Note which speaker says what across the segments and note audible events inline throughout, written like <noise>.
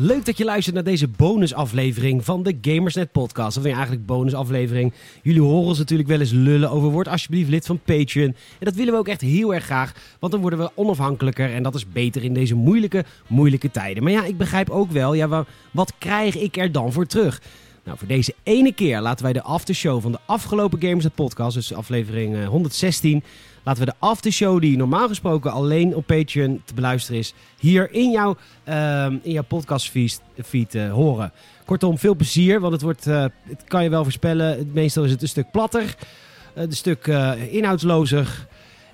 Speaker 1: Leuk dat je luistert naar deze bonusaflevering van de Gamersnet Podcast. Of nee, eigenlijk bonusaflevering. Jullie horen ons natuurlijk wel eens lullen over. Word alsjeblieft lid van Patreon. En dat willen we ook echt heel erg graag. Want dan worden we onafhankelijker. En dat is beter in deze moeilijke, moeilijke tijden. Maar ja, ik begrijp ook wel. Ja, wa- wat krijg ik er dan voor terug? Nou, voor deze ene keer laten wij de aftershow van de afgelopen Gamersnet Podcast. Dus aflevering eh, 116. Laten we de aftershow die normaal gesproken alleen op Patreon te beluisteren is, hier in jouw, ehm in jouw podcastfeed feed, eh, horen. Kortom, veel plezier, want het, wordt, eh, het kan je wel voorspellen. Het- Meestal is het een stuk platter, eh, een stuk eh, inhoudslozer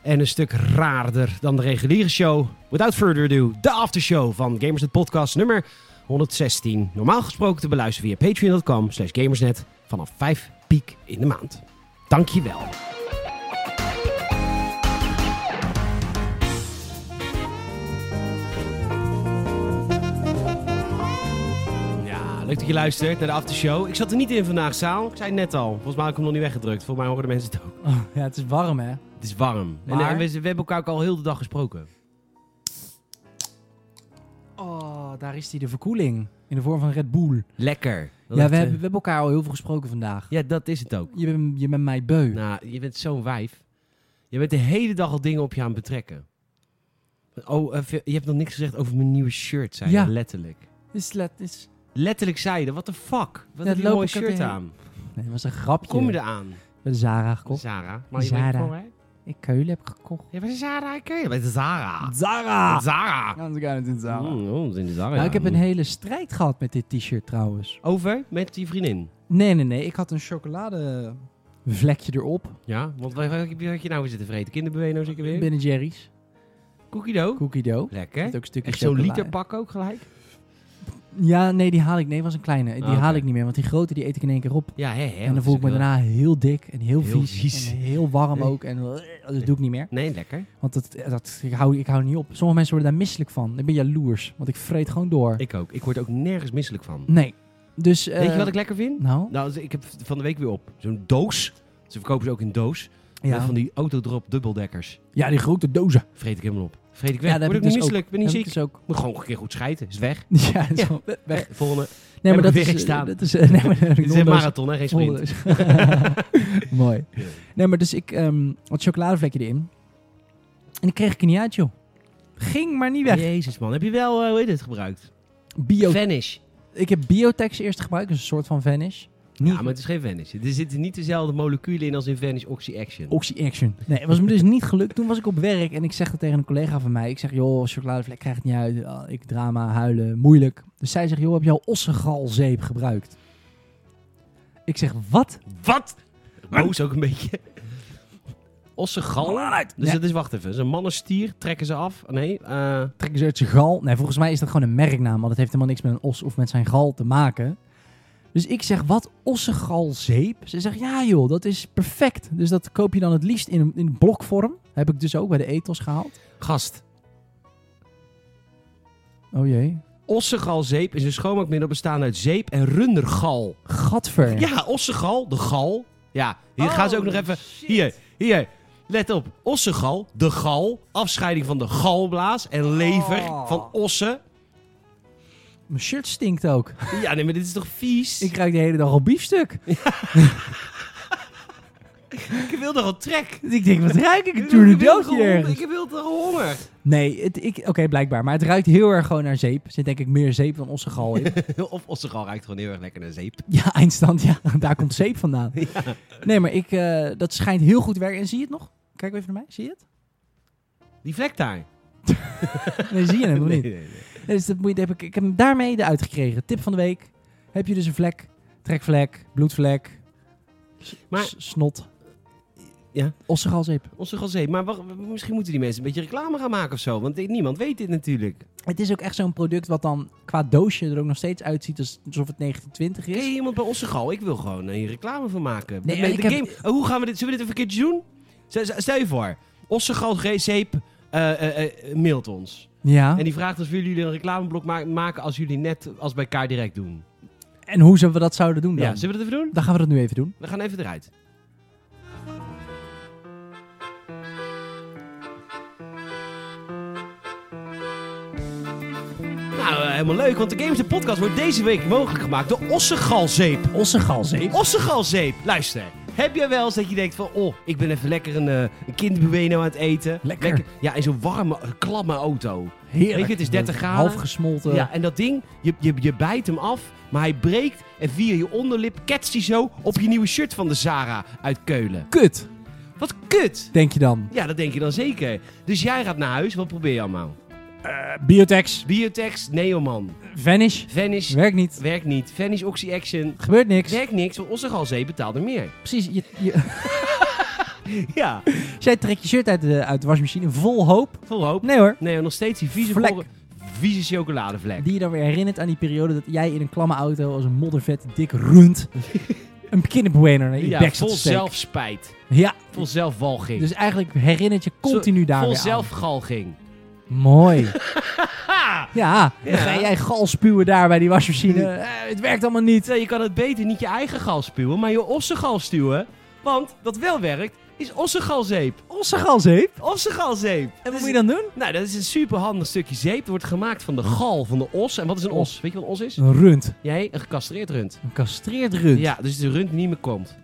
Speaker 1: en een stuk raarder dan de reguliere show. Without further ado, de aftershow van Gamersnet Podcast nummer 116. Normaal gesproken te beluisteren via patreon.com slash gamersnet vanaf 5 piek in de maand. Dankjewel. Ja, leuk dat je luistert naar de aftershow. Ik zat er niet in vandaag, Saal. Ik zei het net al. Volgens mij heb ik hem nog niet weggedrukt. Volgens mij horen de mensen het ook.
Speaker 2: Oh, <laughs> ja, het is warm, hè?
Speaker 1: Het is warm. En,
Speaker 2: Maar-
Speaker 1: eh, we, we hebben elkaar ook al heel de dag gesproken.
Speaker 2: Oh, daar is die de verkoeling. In de vorm van Red Bull.
Speaker 1: Lekker. Dat
Speaker 2: ja,
Speaker 1: het,
Speaker 2: we
Speaker 1: eh,
Speaker 2: hebben, we hebben elkaar al heel veel gesproken vandaag.
Speaker 1: ja, dat is het ook.
Speaker 2: Je bent, je bent mij beu.
Speaker 1: <laughs> Nou, je bent zo'n wijf. Je bent de hele dag al dingen op je aan het betrekken. Oh, eh, ve- je hebt nog niks gezegd over mijn nieuwe shirt, zei
Speaker 2: Ja.
Speaker 1: je letterlijk.
Speaker 2: Is, let, is...
Speaker 1: Letterlijk zei je, wat de fuck? Wat
Speaker 2: Ja,
Speaker 1: heb je
Speaker 2: loop
Speaker 1: een mooi
Speaker 2: ik ook
Speaker 1: shirt
Speaker 2: heen.
Speaker 1: aan?
Speaker 2: Nee, dat was een
Speaker 1: Hoe
Speaker 2: grapje.
Speaker 1: kom je eraan?
Speaker 2: Bij de Zara gekocht.
Speaker 1: Zara. Maar je
Speaker 2: Zara.
Speaker 1: bent gewoon, hè?
Speaker 2: Ik Keulen heb ik gekocht.
Speaker 1: Ja, bij Zara, ik ken je. Bij Zara.
Speaker 2: Zara!
Speaker 1: Ah. Zara.
Speaker 2: Anders gaan het in Zara.
Speaker 1: Mm, oh, dat is in de Zara.
Speaker 2: Ah. Nou,
Speaker 1: ja.
Speaker 2: ik heb een hele strijd gehad met dit t-shirt trouwens.
Speaker 1: Over met die vriendin.
Speaker 2: Nee, nee, nee. Ik had een chocoladevlekje erop.
Speaker 1: Ja, want wat wat heb je wat heb je nou weer zitten vreten? Kinderbueno zeker weer?
Speaker 2: Binnen Jerry's.
Speaker 1: Cookie dough.
Speaker 2: Cookie dough.
Speaker 1: Lekker.
Speaker 2: Met ook een stukje
Speaker 1: Echt zo'n
Speaker 2: chocola.
Speaker 1: literpak ook gelijk?
Speaker 2: Ja, nee, die haal ik. Nee, was een kleine. Die
Speaker 1: Ah, oké.
Speaker 2: haal ik niet meer, want die grote die eet ik in één keer op.
Speaker 1: Ja, hè, hè.
Speaker 2: en dan
Speaker 1: dat
Speaker 2: voel
Speaker 1: is
Speaker 2: ik me
Speaker 1: ook wel-
Speaker 2: daarna heel dik en heel,
Speaker 1: Heel
Speaker 2: vies,
Speaker 1: vies.
Speaker 2: En heel warm
Speaker 1: Nee.
Speaker 2: ook. En eh, dat doe ik niet meer.
Speaker 1: Nee, lekker.
Speaker 2: Want dat, eh, dat, ik, hou, ik hou er niet op. Sommige mensen worden daar misselijk van. Ik ben jaloers, want ik vreet gewoon door.
Speaker 1: Ik ook. Ik word ook nergens misselijk van.
Speaker 2: Nee. Dus, eh,
Speaker 1: Weet je wat ik lekker vind?
Speaker 2: Nou,
Speaker 1: Nou, ik heb van de week weer op. Zo'n doos. Ze verkopen ze ook in doos. Met
Speaker 2: ja.
Speaker 1: van die autodrop dubbeldekkers.
Speaker 2: ja, die grote dozen.
Speaker 1: Vreet ik helemaal op. Vreet ik
Speaker 2: Ja,
Speaker 1: weg.
Speaker 2: dat heb
Speaker 1: word ik
Speaker 2: ik
Speaker 1: niet
Speaker 2: dus ook.
Speaker 1: misselijk. Ben niet
Speaker 2: Heb ik
Speaker 1: ziek.
Speaker 2: dus ook. <laughs>
Speaker 1: Moet gewoon een keer goed scheiden. Is weg.
Speaker 2: Ja, dat is
Speaker 1: Ja.
Speaker 2: gewoon we- weg.
Speaker 1: Eh, Volgende.
Speaker 2: Nee,
Speaker 1: Heb
Speaker 2: maar
Speaker 1: ik
Speaker 2: dat is,
Speaker 1: weer
Speaker 2: eh,
Speaker 1: staan.
Speaker 2: dat is... eh, <laughs> nee, maar
Speaker 1: Dit is een marathon, hè? Geen sprint.
Speaker 2: <laughs> Mooi.
Speaker 1: Ja.
Speaker 2: Nee, maar dus ik ehm had chocoladevlekje erin. En ik kreeg ik er niet uit, joh. Ging maar niet weg.
Speaker 1: Jezus, man. Heb je wel, eh, hoe heet het, gebruikt?
Speaker 2: Bio,
Speaker 1: Vanish.
Speaker 2: ik heb Biotex eerst gebruikt, dus een soort van vanish. Niet
Speaker 1: Ja, maar het is geen Vanish. Er zitten niet dezelfde moleculen in als in Vanish Oxy Action.
Speaker 2: Oxy-action. Nee, het was me dus niet gelukt. Toen was ik op werk en ik zeg dat tegen een collega van mij. Ik zeg, joh, chocoladevlek krijg het niet uit. Ah, Ik drama, huilen, moeilijk. Dus zij zegt, joh, heb je al ossengalzeep gebruikt? Ik zeg, wat?
Speaker 1: Wat? Boos ook een beetje. Ossegal. Dus
Speaker 2: Ja.
Speaker 1: dat is, wacht even. Dat is een mannenstier. Trekken ze af. Nee, eh,
Speaker 2: Trekken ze uit zijn gal? Nee, volgens mij is dat gewoon een merknaam. Want het heeft helemaal niks met een os of met zijn gal te maken. Dus ik zeg, wat ossengalzeep? Ze zegt, ja joh, dat is perfect. Dus dat koop je dan het liefst in, in blokvorm. Heb ik dus ook bij de ethos gehaald.
Speaker 1: gast.
Speaker 2: Oh jee.
Speaker 1: Ossegalzeep is een schoonmaakmiddel bestaande uit zeep en rundergal.
Speaker 2: Gadver.
Speaker 1: Ja, ossegal, de gal. Ja, hier gaan
Speaker 2: Oh,
Speaker 1: ze ook nog even. Hier, hier. Let op. Ossegal, de gal. Afscheiding van de galblaas en lever
Speaker 2: Oh.
Speaker 1: van ossen.
Speaker 2: Mijn shirt stinkt
Speaker 1: <laughs>
Speaker 2: ook.
Speaker 1: Ja, nee, maar dit is toch vies?
Speaker 2: Ik ruik de hele dag al biefstuk.
Speaker 1: Ik wil toch een trek?
Speaker 2: Ik denk, wat ruik ik? Een
Speaker 1: Ik wil toch
Speaker 2: tournedootje
Speaker 1: gewoon-
Speaker 2: ergens.
Speaker 1: Ik wil toch honger?
Speaker 2: Nee, het- ik- oké, blijkbaar. Maar het ruikt heel erg gewoon naar zeep. Er zit denk ik meer zeep dan ossegal
Speaker 1: <laughs>
Speaker 2: in.
Speaker 1: Of ossegal ruikt gewoon heel erg lekker naar zeep.
Speaker 2: ja, eindstand, ja. <laughs> Daar komt zeep vandaan. Nee, maar ik, eh, dat schijnt heel goed te werken. En zie je het nog? Kijk even naar mij. Zie je het?
Speaker 1: Die vlek daar.
Speaker 2: Nee, zie je hem nog
Speaker 1: Nee,
Speaker 2: niet.
Speaker 1: nee, nee.
Speaker 2: Nee, dus dat moet je, dat heb ik, ik heb hem daarmee eruit gekregen. Tip van de week. Heb je dus een vlek, trekvlek, bloedvlek, s-
Speaker 1: Maar-
Speaker 2: s- snot.
Speaker 1: Ja?
Speaker 2: Ossegalzeep.
Speaker 1: Ossegalzeep. Maar wacht, misschien moeten die mensen een beetje reclame gaan maken of zo. Want dit- niemand weet dit natuurlijk.
Speaker 2: Het is ook echt zo'n product wat dan qua doosje er ook nog steeds uitziet als- alsof het 1920 is.
Speaker 1: Ken je iemand bij Ossegal? Ik wil gewoon eh, hier reclame van maken.
Speaker 2: Nee,
Speaker 1: Met de
Speaker 2: ik heb-
Speaker 1: game... Oh, hoe gaan we dit... Zullen we dit even een keertje doen? Z- z- Stel je voor. Ossegal zeep eh, eh, eh, mailt ons.
Speaker 2: Ja.
Speaker 1: En die vraagt ons... Willen jullie een reclameblok ma- maken als jullie net als bij Kaart Direct doen?
Speaker 2: En hoe zullen we dat zouden doen dan?
Speaker 1: Ja, zullen we dat even doen?
Speaker 2: Dan gaan we dat nu even doen.
Speaker 1: We gaan even eruit. Nou, Nou, eh, helemaal leuk, want de Games en Podcast wordt deze week mogelijk gemaakt door Ossengalzeep.
Speaker 2: Ossengalzeep.
Speaker 1: Ossengalzeep, luister. Heb jij wel eens dat je denkt van, oh, ik ben even lekker een, eh, een kinderbueno aan het eten.
Speaker 2: Lekker.
Speaker 1: Ja, in zo'n warme, eh, klamme auto.
Speaker 2: Heerlijk.
Speaker 1: Weet je, het is 30 graden.
Speaker 2: Half gesmolten.
Speaker 1: Ja, en dat ding, je, je, je bijt hem af, maar hij breekt en via je onderlip ketst hij zo op je nieuwe shirt van de Zara uit Keulen.
Speaker 2: Kut,
Speaker 1: Wat kut!
Speaker 2: denk je dan.
Speaker 1: Ja, dat denk je dan zeker. Dus jij gaat naar huis, wat probeer je allemaal?
Speaker 2: Biotex.
Speaker 1: Eh, Biotex, Neoman.
Speaker 2: Vanish.
Speaker 1: Vanish,
Speaker 2: Werkt niet.
Speaker 1: werkt niet. Vanish Oxy Action,
Speaker 2: Gebeurt niks.
Speaker 1: werkt niks, want Ossengalzee betaalt er meer.
Speaker 2: Precies. Je, <laughs> je,
Speaker 1: Ja,
Speaker 2: jij trekt je shirt uit de, uit de wasmachine vol hoop.
Speaker 1: vol hoop.
Speaker 2: Nee hoor.
Speaker 1: Nee, nog steeds die vieze,
Speaker 2: Vlek.
Speaker 1: gore- vieze chocoladevlek.
Speaker 2: Die je dan weer herinnert aan die periode dat jij in een klamme auto als een moddervet dik
Speaker 1: <laughs>
Speaker 2: rund een kinderbuener naar je
Speaker 1: ja,
Speaker 2: bek zat
Speaker 1: vol
Speaker 2: te steken.
Speaker 1: zelfspijt.
Speaker 2: Ja,
Speaker 1: Vol zelfwalging.
Speaker 2: dus eigenlijk herinnert je continu
Speaker 1: Zo-
Speaker 2: daar
Speaker 1: Vol
Speaker 2: weer aan.
Speaker 1: zelfgalging. <laughs>
Speaker 2: Mooi.
Speaker 1: Ha!
Speaker 2: Ja,
Speaker 1: Ja.
Speaker 2: dan ga jij gal spuwen daar bij die wasmachine. Eh, het werkt allemaal niet.
Speaker 1: Terwijl je kan het beter niet je eigen gal spuwen, maar je ossengal stuwen. Want dat wel werkt, is ossengalzeep.
Speaker 2: Ossengalzeep.
Speaker 1: Ossengalzeep.
Speaker 2: En wat moet je dan doen?
Speaker 1: Nou, dat is een superhandig stukje zeep. Dat wordt gemaakt van de gal van de os. En wat is een os? Weet je wat een os is?
Speaker 2: Oh. Een rund.
Speaker 1: Jij, een gecastreerd rund.
Speaker 2: Een castreerd rund.
Speaker 1: Ja, dus de rund niet meer komt.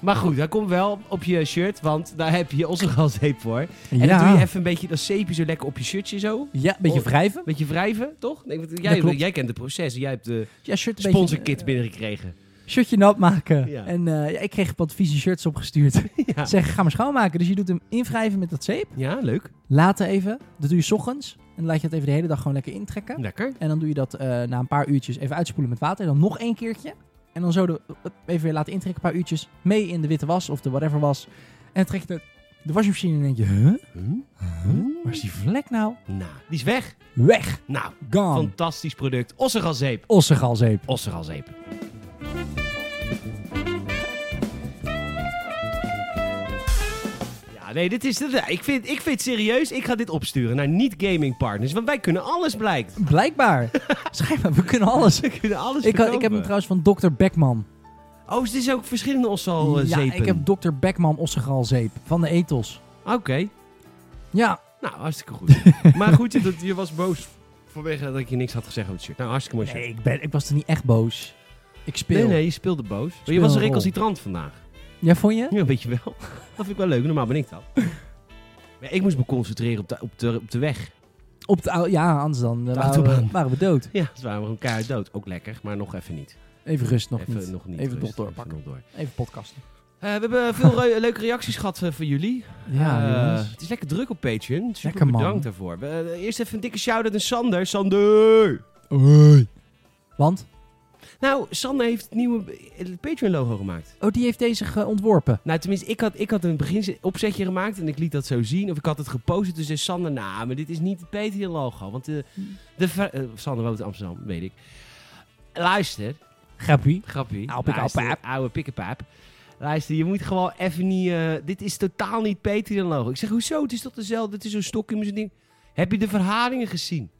Speaker 1: Maar goed, dat komt wel op je shirt, want daar heb je ossengalzeep voor. En
Speaker 2: ja.
Speaker 1: dan doe je even een beetje dat zeepje zo lekker op je shirtje zo.
Speaker 2: Ja, een beetje
Speaker 1: Oh.
Speaker 2: wrijven.
Speaker 1: Beetje wrijven, toch? Nee, want
Speaker 2: Ja,
Speaker 1: jij,
Speaker 2: klopt.
Speaker 1: jij kent het proces. Jij hebt de
Speaker 2: Ja, shirt een
Speaker 1: sponsorkit
Speaker 2: beetje,
Speaker 1: binnengekregen.
Speaker 2: eh, shirtje nat maken.
Speaker 1: Ja.
Speaker 2: En eh, ja, ik kreeg wat vieze shirts opgestuurd.
Speaker 1: <laughs> Ja.
Speaker 2: Zeg, ga maar schoonmaken. Dus je doet hem invrijven met dat zeep.
Speaker 1: Ja, leuk.
Speaker 2: Later even. Dat doe je 's ochtends. En dan laat je het even de hele dag gewoon lekker intrekken.
Speaker 1: Lekker.
Speaker 2: En dan doe je dat eh, na een paar uurtjes even uitspoelen met water. En dan nog één keertje. En dan zo de, even weer laten intrekken, een paar uurtjes. Mee in de witte was of de whatever was. En dan trek je de, de wasmachine en dan denk je, huh? Waar is die vlek nou?
Speaker 1: Nou, die is weg.
Speaker 2: Weg!
Speaker 1: Nou,
Speaker 2: Gone! Van...
Speaker 1: fantastisch product. Ossengalzeep.
Speaker 2: Ossengalzeep.
Speaker 1: Ossengalzeep. Ja, Nee, dit is, dit- ik, vind, ik vind het serieus, ik ga dit opsturen naar niet-gaming partners. Want wij kunnen alles, blijkt. <laughs>
Speaker 2: Blijkbaar. Schijnbaar, we kunnen alles.
Speaker 1: We kunnen alles
Speaker 2: Ik, had, ik heb hem
Speaker 1: verkopen.
Speaker 2: trouwens van Dr. Beckman.
Speaker 1: Oh, dus het is ook verschillende eh,
Speaker 2: ja,
Speaker 1: Ossal-zeepen?
Speaker 2: ik heb Dr. Beckman ossengalzeep van de Ethos.
Speaker 1: Oké,
Speaker 2: Ja,
Speaker 1: nou, hartstikke goed. <laughs> maar goed, je, dat- je was boos vanwege dat je niks had gezegd over het shirt. Nou, hartstikke mooi
Speaker 2: nee,
Speaker 1: shirt.
Speaker 2: ik, ben, ik was er niet echt boos. Ik speel.
Speaker 1: nee, nee, je speelde boos. Maar je
Speaker 2: Speel
Speaker 1: was
Speaker 2: een rol.
Speaker 1: recalcitrant vandaag.
Speaker 2: <laughs> Ja, vond je?
Speaker 1: Ja, weet je wel. Dat vind ik wel leuk. Normaal ben ik
Speaker 2: <laughs>
Speaker 1: dat. Maar ik moest me concentreren op de, op de, op de weg.
Speaker 2: Op de, au- ja, anders dan eh,
Speaker 1: De
Speaker 2: waren,
Speaker 1: autobahn.
Speaker 2: we, waren we dood.
Speaker 1: Ja, dat waren we gewoon keihard dood. Ook lekker, maar nog even niet.
Speaker 2: Even rust nog
Speaker 1: even
Speaker 2: niet.
Speaker 1: nog niet.
Speaker 2: Even
Speaker 1: rustig,
Speaker 2: nog doorpakken.
Speaker 1: nog door.
Speaker 2: Even podcasten.
Speaker 1: Eh, we hebben veel re- leuke reacties gehad eh, van jullie.
Speaker 2: Ja,
Speaker 1: Eh,
Speaker 2: jongens.
Speaker 1: Het is lekker druk op Patreon. Super
Speaker 2: Lekker, man.
Speaker 1: bedankt daarvoor. We- eh, eerst even een dikke shout-out aan Sander. Sander!
Speaker 2: Want?
Speaker 1: Nou, Sander heeft het nieuwe eh, Patreon-logo gemaakt.
Speaker 2: Oh, die heeft deze ge- ontworpen.
Speaker 1: Nou, tenminste, ik had, ik had een beginsopzetje gemaakt en ik liet dat zo zien. Of ik had het gepost. Dus zei Sander, nou, maar dit is niet het Peter logo. Want de, de ver- eh, Sander woont in Amsterdam, weet ik. Luister,
Speaker 2: Grappie.
Speaker 1: grappie.
Speaker 2: Oude pik-
Speaker 1: Luister,
Speaker 2: oude paap.
Speaker 1: Oude pikkepaap. Luister, je moet gewoon even niet... eh, dit is totaal niet Peter logo. Ik zeg, hoezo? Het is toch dezelfde? Het is zo'n stokje met zo'n ding. Heb je de verhoudingen gezien?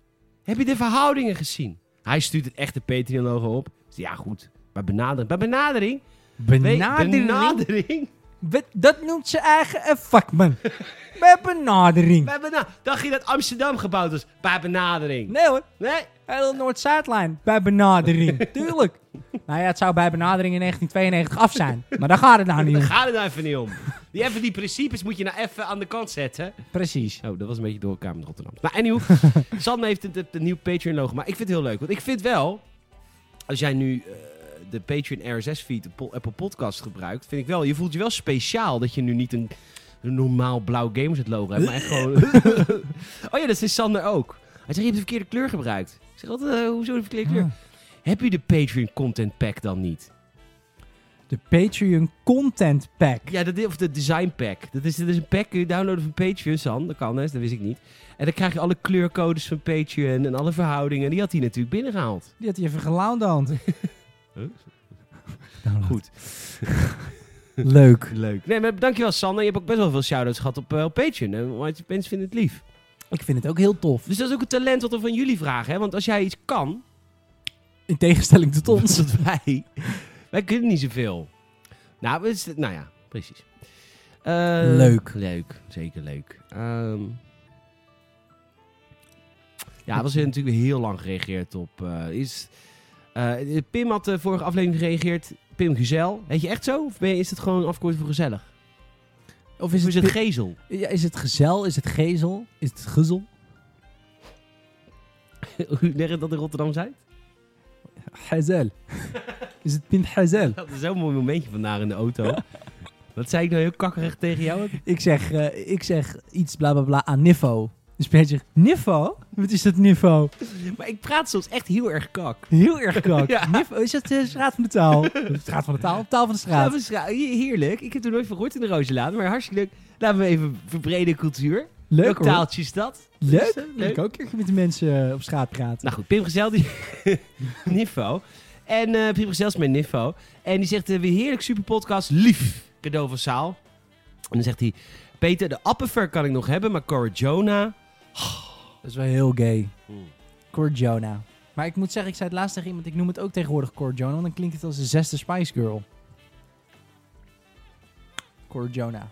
Speaker 1: Heb je de verhoudingen gezien? Hij stuurt het echte Peter logo op. Ik zeg, Ja, goed. Bij benadering. Bij benadering. Bij
Speaker 2: Benadering.
Speaker 1: benadering.
Speaker 2: Wat- Dat noemt ze eigen een vakman.
Speaker 1: <laughs>
Speaker 2: Bij benadering.
Speaker 1: Bij bena- nou, Dacht je dat Amsterdam gebouwd was? Bij benadering.
Speaker 2: Nee hoor.
Speaker 1: Nee?
Speaker 2: Hele Noord-Zuidlijn.
Speaker 1: <laughs>
Speaker 2: Bij benadering. Tuurlijk. Nou ja, het zou bij benadering in 1992 af zijn. Maar daar gaat het nou niet
Speaker 1: Daar <laughs>
Speaker 2: om.
Speaker 1: gaat het nou even niet om. Die, even die principes moet je nou even aan de kant zetten.
Speaker 2: Precies.
Speaker 1: Oh, dat was een beetje door elkaar met Rotterdam. Maar
Speaker 2: <laughs>
Speaker 1: anyhow, Sam heeft het, het, het nieuwe Patreon-logo. Maar ik vind het heel leuk. Want ik vind wel, als jij nu eh, de Patreon RSS-feed, Apple Podcast gebruikt, vind ik wel, je voelt je wel speciaal dat je nu niet een, een normaal blauw Gamers het logo hebt, maar echt
Speaker 2: <laughs>
Speaker 1: gewoon... oh ja, dat is Sander ook. Hij zegt, je hebt de verkeerde kleur gebruikt. Ik zeg altijd, eh, hoezo de verkeerde kleur?
Speaker 2: Ah.
Speaker 1: Heb je de Patreon Content Pack dan niet?
Speaker 2: De Patreon Content Pack.
Speaker 1: Ja, dat, of de Design Pack. Dat is, dat is een pack, kun je downloaden van Patreon, San. Dat kan, hè? dat wist ik niet. En dan krijg je alle kleurcodes van Patreon en alle verhoudingen. Die had hij natuurlijk binnengehaald.
Speaker 2: Die had hij even geloundhand. <laughs>
Speaker 1: Huh?
Speaker 2: Goed.
Speaker 1: Goed.
Speaker 2: Nou, Leuk.
Speaker 1: Leuk. Nee, maar dankjewel Sander. Je hebt ook best wel veel shout-outs gehad op, eh, op Patreon. hè, Want mensen vinden het lief.
Speaker 2: Ik vind het ook heel tof.
Speaker 1: Dus dat is ook het talent wat we van jullie vragen. Hè? Want als jij iets kan,
Speaker 2: In tegenstelling tot ons.
Speaker 1: dat wij... Wij kunnen niet zoveel. Nou, we- nou ja, precies. Eh,
Speaker 2: Leuk.
Speaker 1: Leuk, zeker leuk. Ehm, Ja, dat was natuurlijk heel lang gereageerd op. eh, is, eh, Pim had de vorige aflevering gereageerd. Pim Gezel. Heet je echt zo? Of ben je, is het gewoon een afkorting voor gezellig?
Speaker 2: Of
Speaker 1: Of is het
Speaker 2: Pi-
Speaker 1: Gezel? <laughs>
Speaker 2: Ja, is het gezel? Is het gezel? Is het gezel?
Speaker 1: Hoe leg je dat in Rotterdam zijn? <laughs>
Speaker 2: Hazel. is het Pim Hazel?
Speaker 1: Dat is zo'n mooi momentje vandaag in de <laughs> auto. Wat zei ik nou heel kakkerig tegen jou?
Speaker 2: Ik zeg, eh, ik zeg iets bla bla bla aan Niffo. Dus Peter zegt, Niffo? Wat is dat Niffo?
Speaker 1: Maar ik praat soms echt heel erg kak.
Speaker 2: Heel erg
Speaker 1: <laughs>
Speaker 2: kak.
Speaker 1: Ja.
Speaker 2: Niffo, is dat de straat van de
Speaker 1: <laughs>
Speaker 2: taal? straat van de taal? Taal van de
Speaker 1: Ja,
Speaker 2: straat.
Speaker 1: maar scha- heerlijk. Ik heb er nooit van gehoord in de Rooselaat, maar hartstikke leuk. Laten we even verbreden cultuur.
Speaker 2: Leuk
Speaker 1: Welk
Speaker 2: hoor.
Speaker 1: taaltje is dat?
Speaker 2: Leuk.
Speaker 1: Is, eh,
Speaker 2: Dat ik ook een keertje met de mensen eh, op straat praat.
Speaker 1: Nou goed, Pim Gezel, die... <laughs> Niffo. En eh Pim Gezel is mijn Niffo. En die zegt, eh, weer heerlijk super podcast, lief, cadeau van Saal. En dan zegt hij, Peter, de Appenver kan ik nog hebben, maar Corjona...
Speaker 2: Dat is wel heel gay.
Speaker 1: Hmm.
Speaker 2: Corjona. Maar ik moet zeggen, ik zei het laatst tegen iemand, ik noem het ook tegenwoordig Corjona, want dan klinkt het als de zesde Spice Girl. Corjona.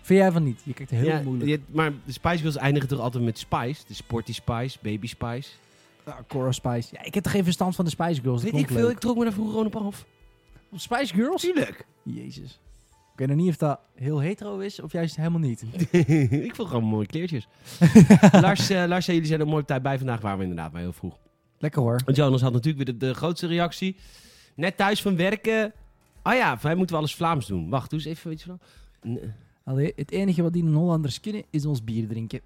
Speaker 2: Vind jij van niet? Je kijkt heel
Speaker 1: Ja,
Speaker 2: moeilijk.
Speaker 1: je- maar de Spice Girls eindigen toch altijd met Spice? De Sporty Spice, Baby Spice.
Speaker 2: Ah, Cora Spice. Ja, ik heb toch geen verstand van de Spice Girls.
Speaker 1: Weet
Speaker 2: Dat
Speaker 1: ik
Speaker 2: klonk
Speaker 1: veel,
Speaker 2: leuk.
Speaker 1: ik trok me daar vroeger gewoon op af.
Speaker 2: Spice Girls?
Speaker 1: Tuurlijk.
Speaker 2: Jezus. Ik weet nog niet of dat heel hetero is of juist helemaal
Speaker 1: <laughs>
Speaker 2: niet.
Speaker 1: ik vond gewoon mooie <laughs> kleertjes. Lars, eh, Lars en jullie zijn er mooi op tijd bij. Vandaag waren we inderdaad maar heel vroeg.
Speaker 2: Lekker hoor.
Speaker 1: En Jonas had natuurlijk weer de, de grootste reactie. Net thuis van werken. Ah ja, wij moeten wel alles Vlaams doen. Wacht, doe eens even iets van. N-
Speaker 2: Allee, het enige wat die Hollanders kunnen is ons
Speaker 1: <laughs>
Speaker 2: bier drinken.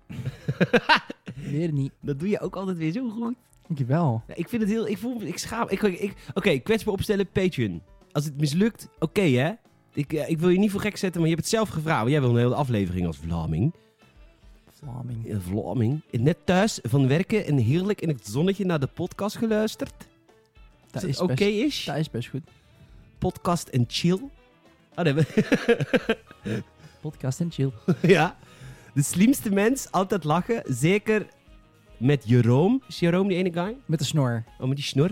Speaker 2: Meer niet.
Speaker 1: Dat doe je ook altijd weer zo goed.
Speaker 2: Dankjewel.
Speaker 1: Ja, ik vind het heel... Ik voel me... Ik schaam... Ik, ik, Oké, kwetsbaar opstellen, Patreon. Als het mislukt, oké hè. Ik, eh, ik wil je niet voor gek zetten, maar je hebt het zelf gevraagd. Want Jij wil een hele aflevering als Vlaming.
Speaker 2: Vlaming.
Speaker 1: Eh, Vlaming. Net thuis van werken en heerlijk in het zonnetje naar de podcast geluisterd.
Speaker 2: Dat
Speaker 1: is
Speaker 2: is,
Speaker 1: oké
Speaker 2: best,
Speaker 1: is?
Speaker 2: dat is best goed.
Speaker 1: Podcast en chill. Ah, nee, we- <laughs>
Speaker 2: Podcast en chill.
Speaker 1: ja. De slimste mens, altijd lachen. Zeker met Jeroen. Is Jeroen die ene guy?
Speaker 2: Met de snor.
Speaker 1: Oh, met die snor.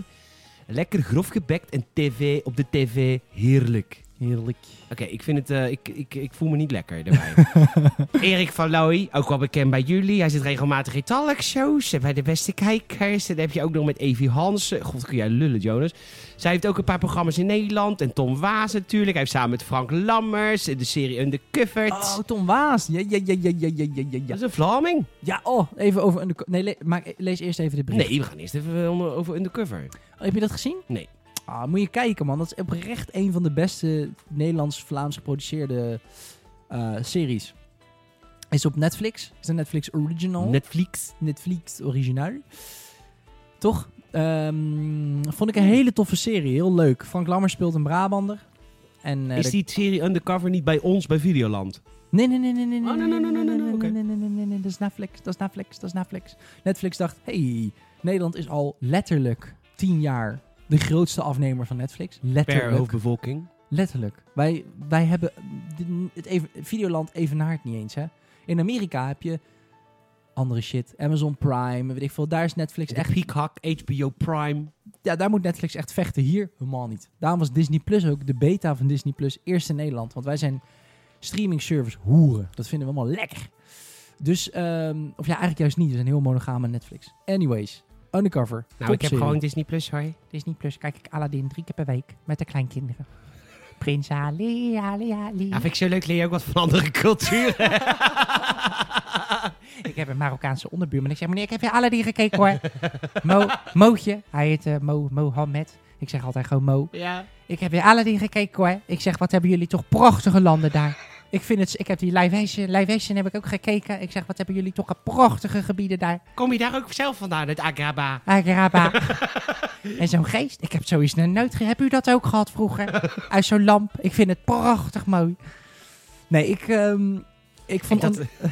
Speaker 1: Lekker grof gebekt en tv op de tv. Heerlijk.
Speaker 2: Heerlijk.
Speaker 1: Oké, ik vind het... eh, ik, ik, ik voel me niet lekker daarbij.
Speaker 2: <laughs>
Speaker 1: Erik van Looy, ook wel bekend bij jullie. Hij zit regelmatig in talkshows en bij de beste kijkers. En dan heb je ook nog met Evie Hansen. God, kun jij lullen, Jonas. Zij heeft ook een paar programma's in Nederland. En Tom Waas natuurlijk. Hij heeft samen met Frank Lammers eh, de serie Undercovered.
Speaker 2: Oh, Tom Waas. Ja, ja, ja, ja, ja, ja, ja, ja,
Speaker 1: Dat
Speaker 2: ja.
Speaker 1: is een Vlaming.
Speaker 2: Ja, oh, even over... Underco- nee, le- maak, lees eerst even de brief.
Speaker 1: Nee, we gaan eerst even eh, onder- over Undercover.
Speaker 2: Oh, heb je dat gezien?
Speaker 1: Nee.
Speaker 2: Ah, moet je kijken, man. Dat is oprecht een van de beste Nederlands-Vlaams geproduceerde eh, series. Is op Netflix. Is een Netflix original.
Speaker 1: Netflix.
Speaker 2: Netflix originaal. Toch? Ehm, vond ik een hele toffe serie. Heel leuk. Frank Lammers speelt een Brabander. En, eh,
Speaker 1: Is die serie Undercover niet bij ons, bij Videoland?
Speaker 2: Nee, nee, nee, nee, nee.
Speaker 1: Oh,
Speaker 2: nee,
Speaker 1: nee, nee, nee, nee, nee,
Speaker 2: nee,
Speaker 1: oké.
Speaker 2: nee, nee, nee, nee, nee, Dat is Netflix, dat is Netflix, dat is Netflix. Netflix dacht, hey, Nederland is al letterlijk tien jaar de grootste afnemer van Netflix.
Speaker 1: Per
Speaker 2: Letterlijk.
Speaker 1: hoofdbevolking.
Speaker 2: Letterlijk. Wij, wij hebben... de- Het even, Videoland evenaart niet eens, hè. In Amerika heb je andere shit. Amazon Prime, weet ik veel. Daar is Netflix echt...
Speaker 1: Echt Peacock, HBO Prime.
Speaker 2: Ja, daar moet Netflix echt vechten. Hier helemaal niet. Daarom was Disney Plus ook, de beta van Disney Plus, eerst in Nederland. Want wij zijn streaming service hoeren. Dat vinden we allemaal lekker. Dus, ehm, of ja, eigenlijk juist niet. We zijn heel monogaam aan Netflix. Anyways, Undercover.
Speaker 1: Nou, ik heb
Speaker 2: topserie.
Speaker 1: gewoon Disney Plus, hoor.
Speaker 3: Disney Plus kijk ik Aladdin drie keer per week met de kleinkinderen. Prins Ali, Ali, Ali.
Speaker 1: Ja, vind ik zo leuk. Leer je ook wat van andere culturen.
Speaker 3: ik heb een Marokkaanse onderbuurman. Ik zeg, meneer, ik heb weer Aladdin gekeken
Speaker 1: <laughs>
Speaker 3: hoor. Mo, Mootje, hij heet eh, Mo, Mohammed. Ik zeg altijd gewoon Mo.
Speaker 1: ja.
Speaker 3: Ik heb weer Aladdin gekeken hoor. Ik zeg, wat hebben jullie toch prachtige landen daar. Ik, vind het, ik heb die live action, live action heb ik ook gekeken. Ik zeg, wat hebben jullie toch een prachtige gebieden daar.
Speaker 1: Kom je daar ook zelf vandaan, uit Agraba?
Speaker 3: Agraba. en zo'n geest. Ik heb zoiets nog nooit ge- Heb u dat ook gehad vroeger? Uit zo'n lamp. Ik vind het prachtig mooi.
Speaker 2: Nee, ik, ehm, ik vond...
Speaker 1: dat-
Speaker 2: Dat...
Speaker 3: <laughs>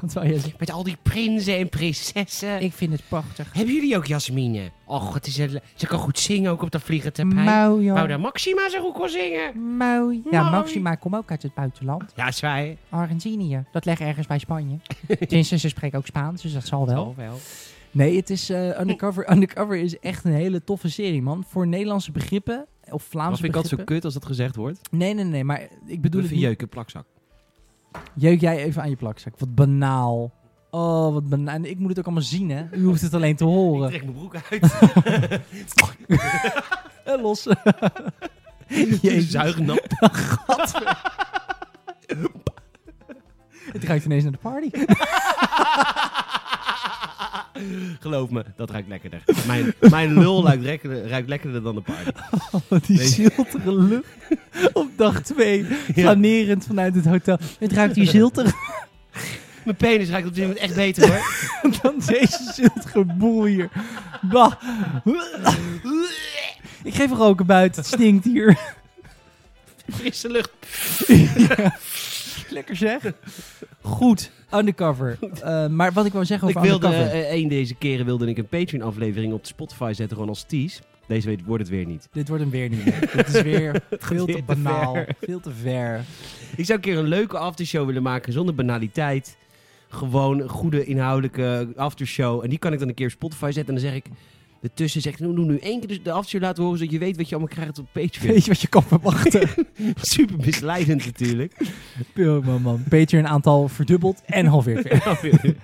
Speaker 2: Wat wou je zeggen?
Speaker 1: Met al die prinsen en prinsessen.
Speaker 3: Ik vind het prachtig.
Speaker 1: Hebben jullie ook Jasmine? Och, het is een... le- ze kan goed zingen ook op dat vliegentapijt.
Speaker 3: Mooi,
Speaker 1: Wou
Speaker 3: joh.
Speaker 1: dat Maxima zo goed kon zingen?
Speaker 3: Mooi. Ja,
Speaker 1: Mooi.
Speaker 3: Maxima komt ook uit het buitenland.
Speaker 1: Ja, zij.
Speaker 3: Argentinië. Dat ligt ergens bij Spanje. Tenminste, ze spreekt ook Spaans, dus dat zal wel.
Speaker 1: Oh, wel.
Speaker 2: Nee, het is eh, Undercover. Undercover is echt een hele toffe serie, man. Voor Nederlandse begrippen, of Vlaamse begrippen.
Speaker 1: kut als dat gezegd wordt?
Speaker 2: Nee, nee, nee, maar ik bedoel het niet
Speaker 1: plakzak.
Speaker 2: Jeuk jij even aan je plakzak. Wat banaal. Oh, wat ben... En ik moet het ook allemaal zien, hè? U hoeft het alleen te horen.
Speaker 1: <laughs> Trek mijn broek uit.
Speaker 2: En
Speaker 1: <laughs>
Speaker 2: Eh, los. Jezus.
Speaker 1: Zuignap.
Speaker 2: Het ruikt ineens naar de
Speaker 1: <laughs>
Speaker 2: party.
Speaker 1: <laughs>
Speaker 2: <laughs>
Speaker 1: Geloof me, dat ruikt lekkerder. Mijn, mijn lul ruikt, lekkerder- ruikt lekkerder dan de paarden.
Speaker 2: die
Speaker 1: Nee.
Speaker 2: ziltige lucht.
Speaker 1: <laughs>
Speaker 2: Op dag twee. Flanerend vanuit het hotel. Het ruikt
Speaker 1: <laughs>
Speaker 2: hier ziltig
Speaker 1: Mijn penis ruikt op dit moment echt beter hoor.
Speaker 2: <laughs> dan deze ziltige boel hier. Bah. Ik geef er roken buiten. Het stinkt
Speaker 1: <laughs>
Speaker 2: hier.
Speaker 1: Frisse lucht.
Speaker 2: Lekker zeg. Goed. Undercover. Eh, maar wat ik wou zeggen
Speaker 1: Ik
Speaker 2: over
Speaker 1: wilde
Speaker 2: undercover.
Speaker 1: eh, één deze keren wilde ik een Patreon aflevering op Spotify zetten gewoon als tease. Deze weet wordt het weer niet.
Speaker 2: Dit wordt hem weer niet. meer. Dit is
Speaker 1: <laughs>
Speaker 2: weer veel
Speaker 1: weer
Speaker 2: te
Speaker 1: te
Speaker 2: banaal.
Speaker 1: ver.
Speaker 2: Veel te ver.
Speaker 1: Ik zou een keer een leuke aftershow willen maken zonder banaliteit. Gewoon een goede inhoudelijke aftershow. En die kan ik dan een keer op Spotify zetten. En dan zeg ik ertussen, zeg ik, nou, doe nu één keer de aftershow laten horen. Zodat je weet wat je allemaal krijgt op Patreon.
Speaker 2: Weet je wat je kan <laughs> verwachten?
Speaker 1: <laughs> Super misleidend
Speaker 2: <laughs>
Speaker 1: natuurlijk.
Speaker 2: Oh, man, man. Patreon aantal verdubbeld en halveerd weer.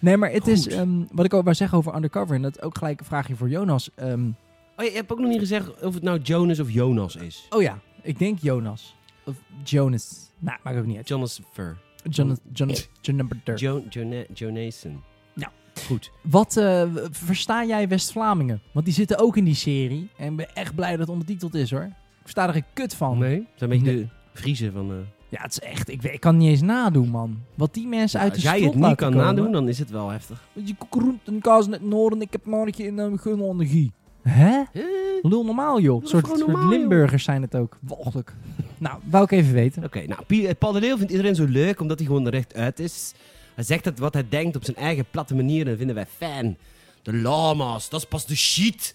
Speaker 2: Nee, maar het is
Speaker 1: Goed.
Speaker 2: ehm, wat ik ook wou zeggen over undercover. En dat is ook gelijk een vraagje voor Jonas. Ehm,
Speaker 1: Oh, je hebt ook nog niet gezegd of het nou Jonas of Jonas is.
Speaker 2: oh ja, ik denk Jonas. Of Jonas. Nou, maakt ook niet uit.
Speaker 1: Jonas Ver.
Speaker 2: Jonas. Jonas. Jonas.
Speaker 1: Jo Jona- Jonason.
Speaker 2: Nou.
Speaker 1: Goed.
Speaker 2: Wat eh, w- versta jij West-Vlamingen? Want die zitten ook in die serie. En ik ben echt blij dat het ondertiteld is hoor. Ik versta er geen kut van.
Speaker 1: Nee? Dat zijn een beetje
Speaker 2: Nee.
Speaker 1: de vriezen van... eh,
Speaker 2: Ja, het is echt. Ik, weet- ik kan het niet eens nadoen, man. Wat die mensen uit de
Speaker 1: als jij
Speaker 2: strot
Speaker 1: het niet
Speaker 2: laten
Speaker 1: kan
Speaker 2: komen.
Speaker 1: nadoen, dan is het wel heftig.
Speaker 2: Je groent en kaas in het noorden. Ik heb morgen in een gun onder gie. Hè?
Speaker 1: Eh,
Speaker 2: Lul normaal, joh. Een
Speaker 1: is
Speaker 2: soort,
Speaker 1: gewoon
Speaker 2: soort
Speaker 1: normaal, joh.
Speaker 2: Limburgers zijn het ook. Walgelijk. Nou, wou ik even weten.
Speaker 1: Oké, nou, Pie- eh, Paul de Leeuw vindt iedereen zo leuk omdat hij gewoon rechtuit is. Hij zegt dat wat hij denkt op zijn eigen platte manier en dat vinden wij fijn. De lama's, dat is pas de
Speaker 2: <laughs>
Speaker 1: shit.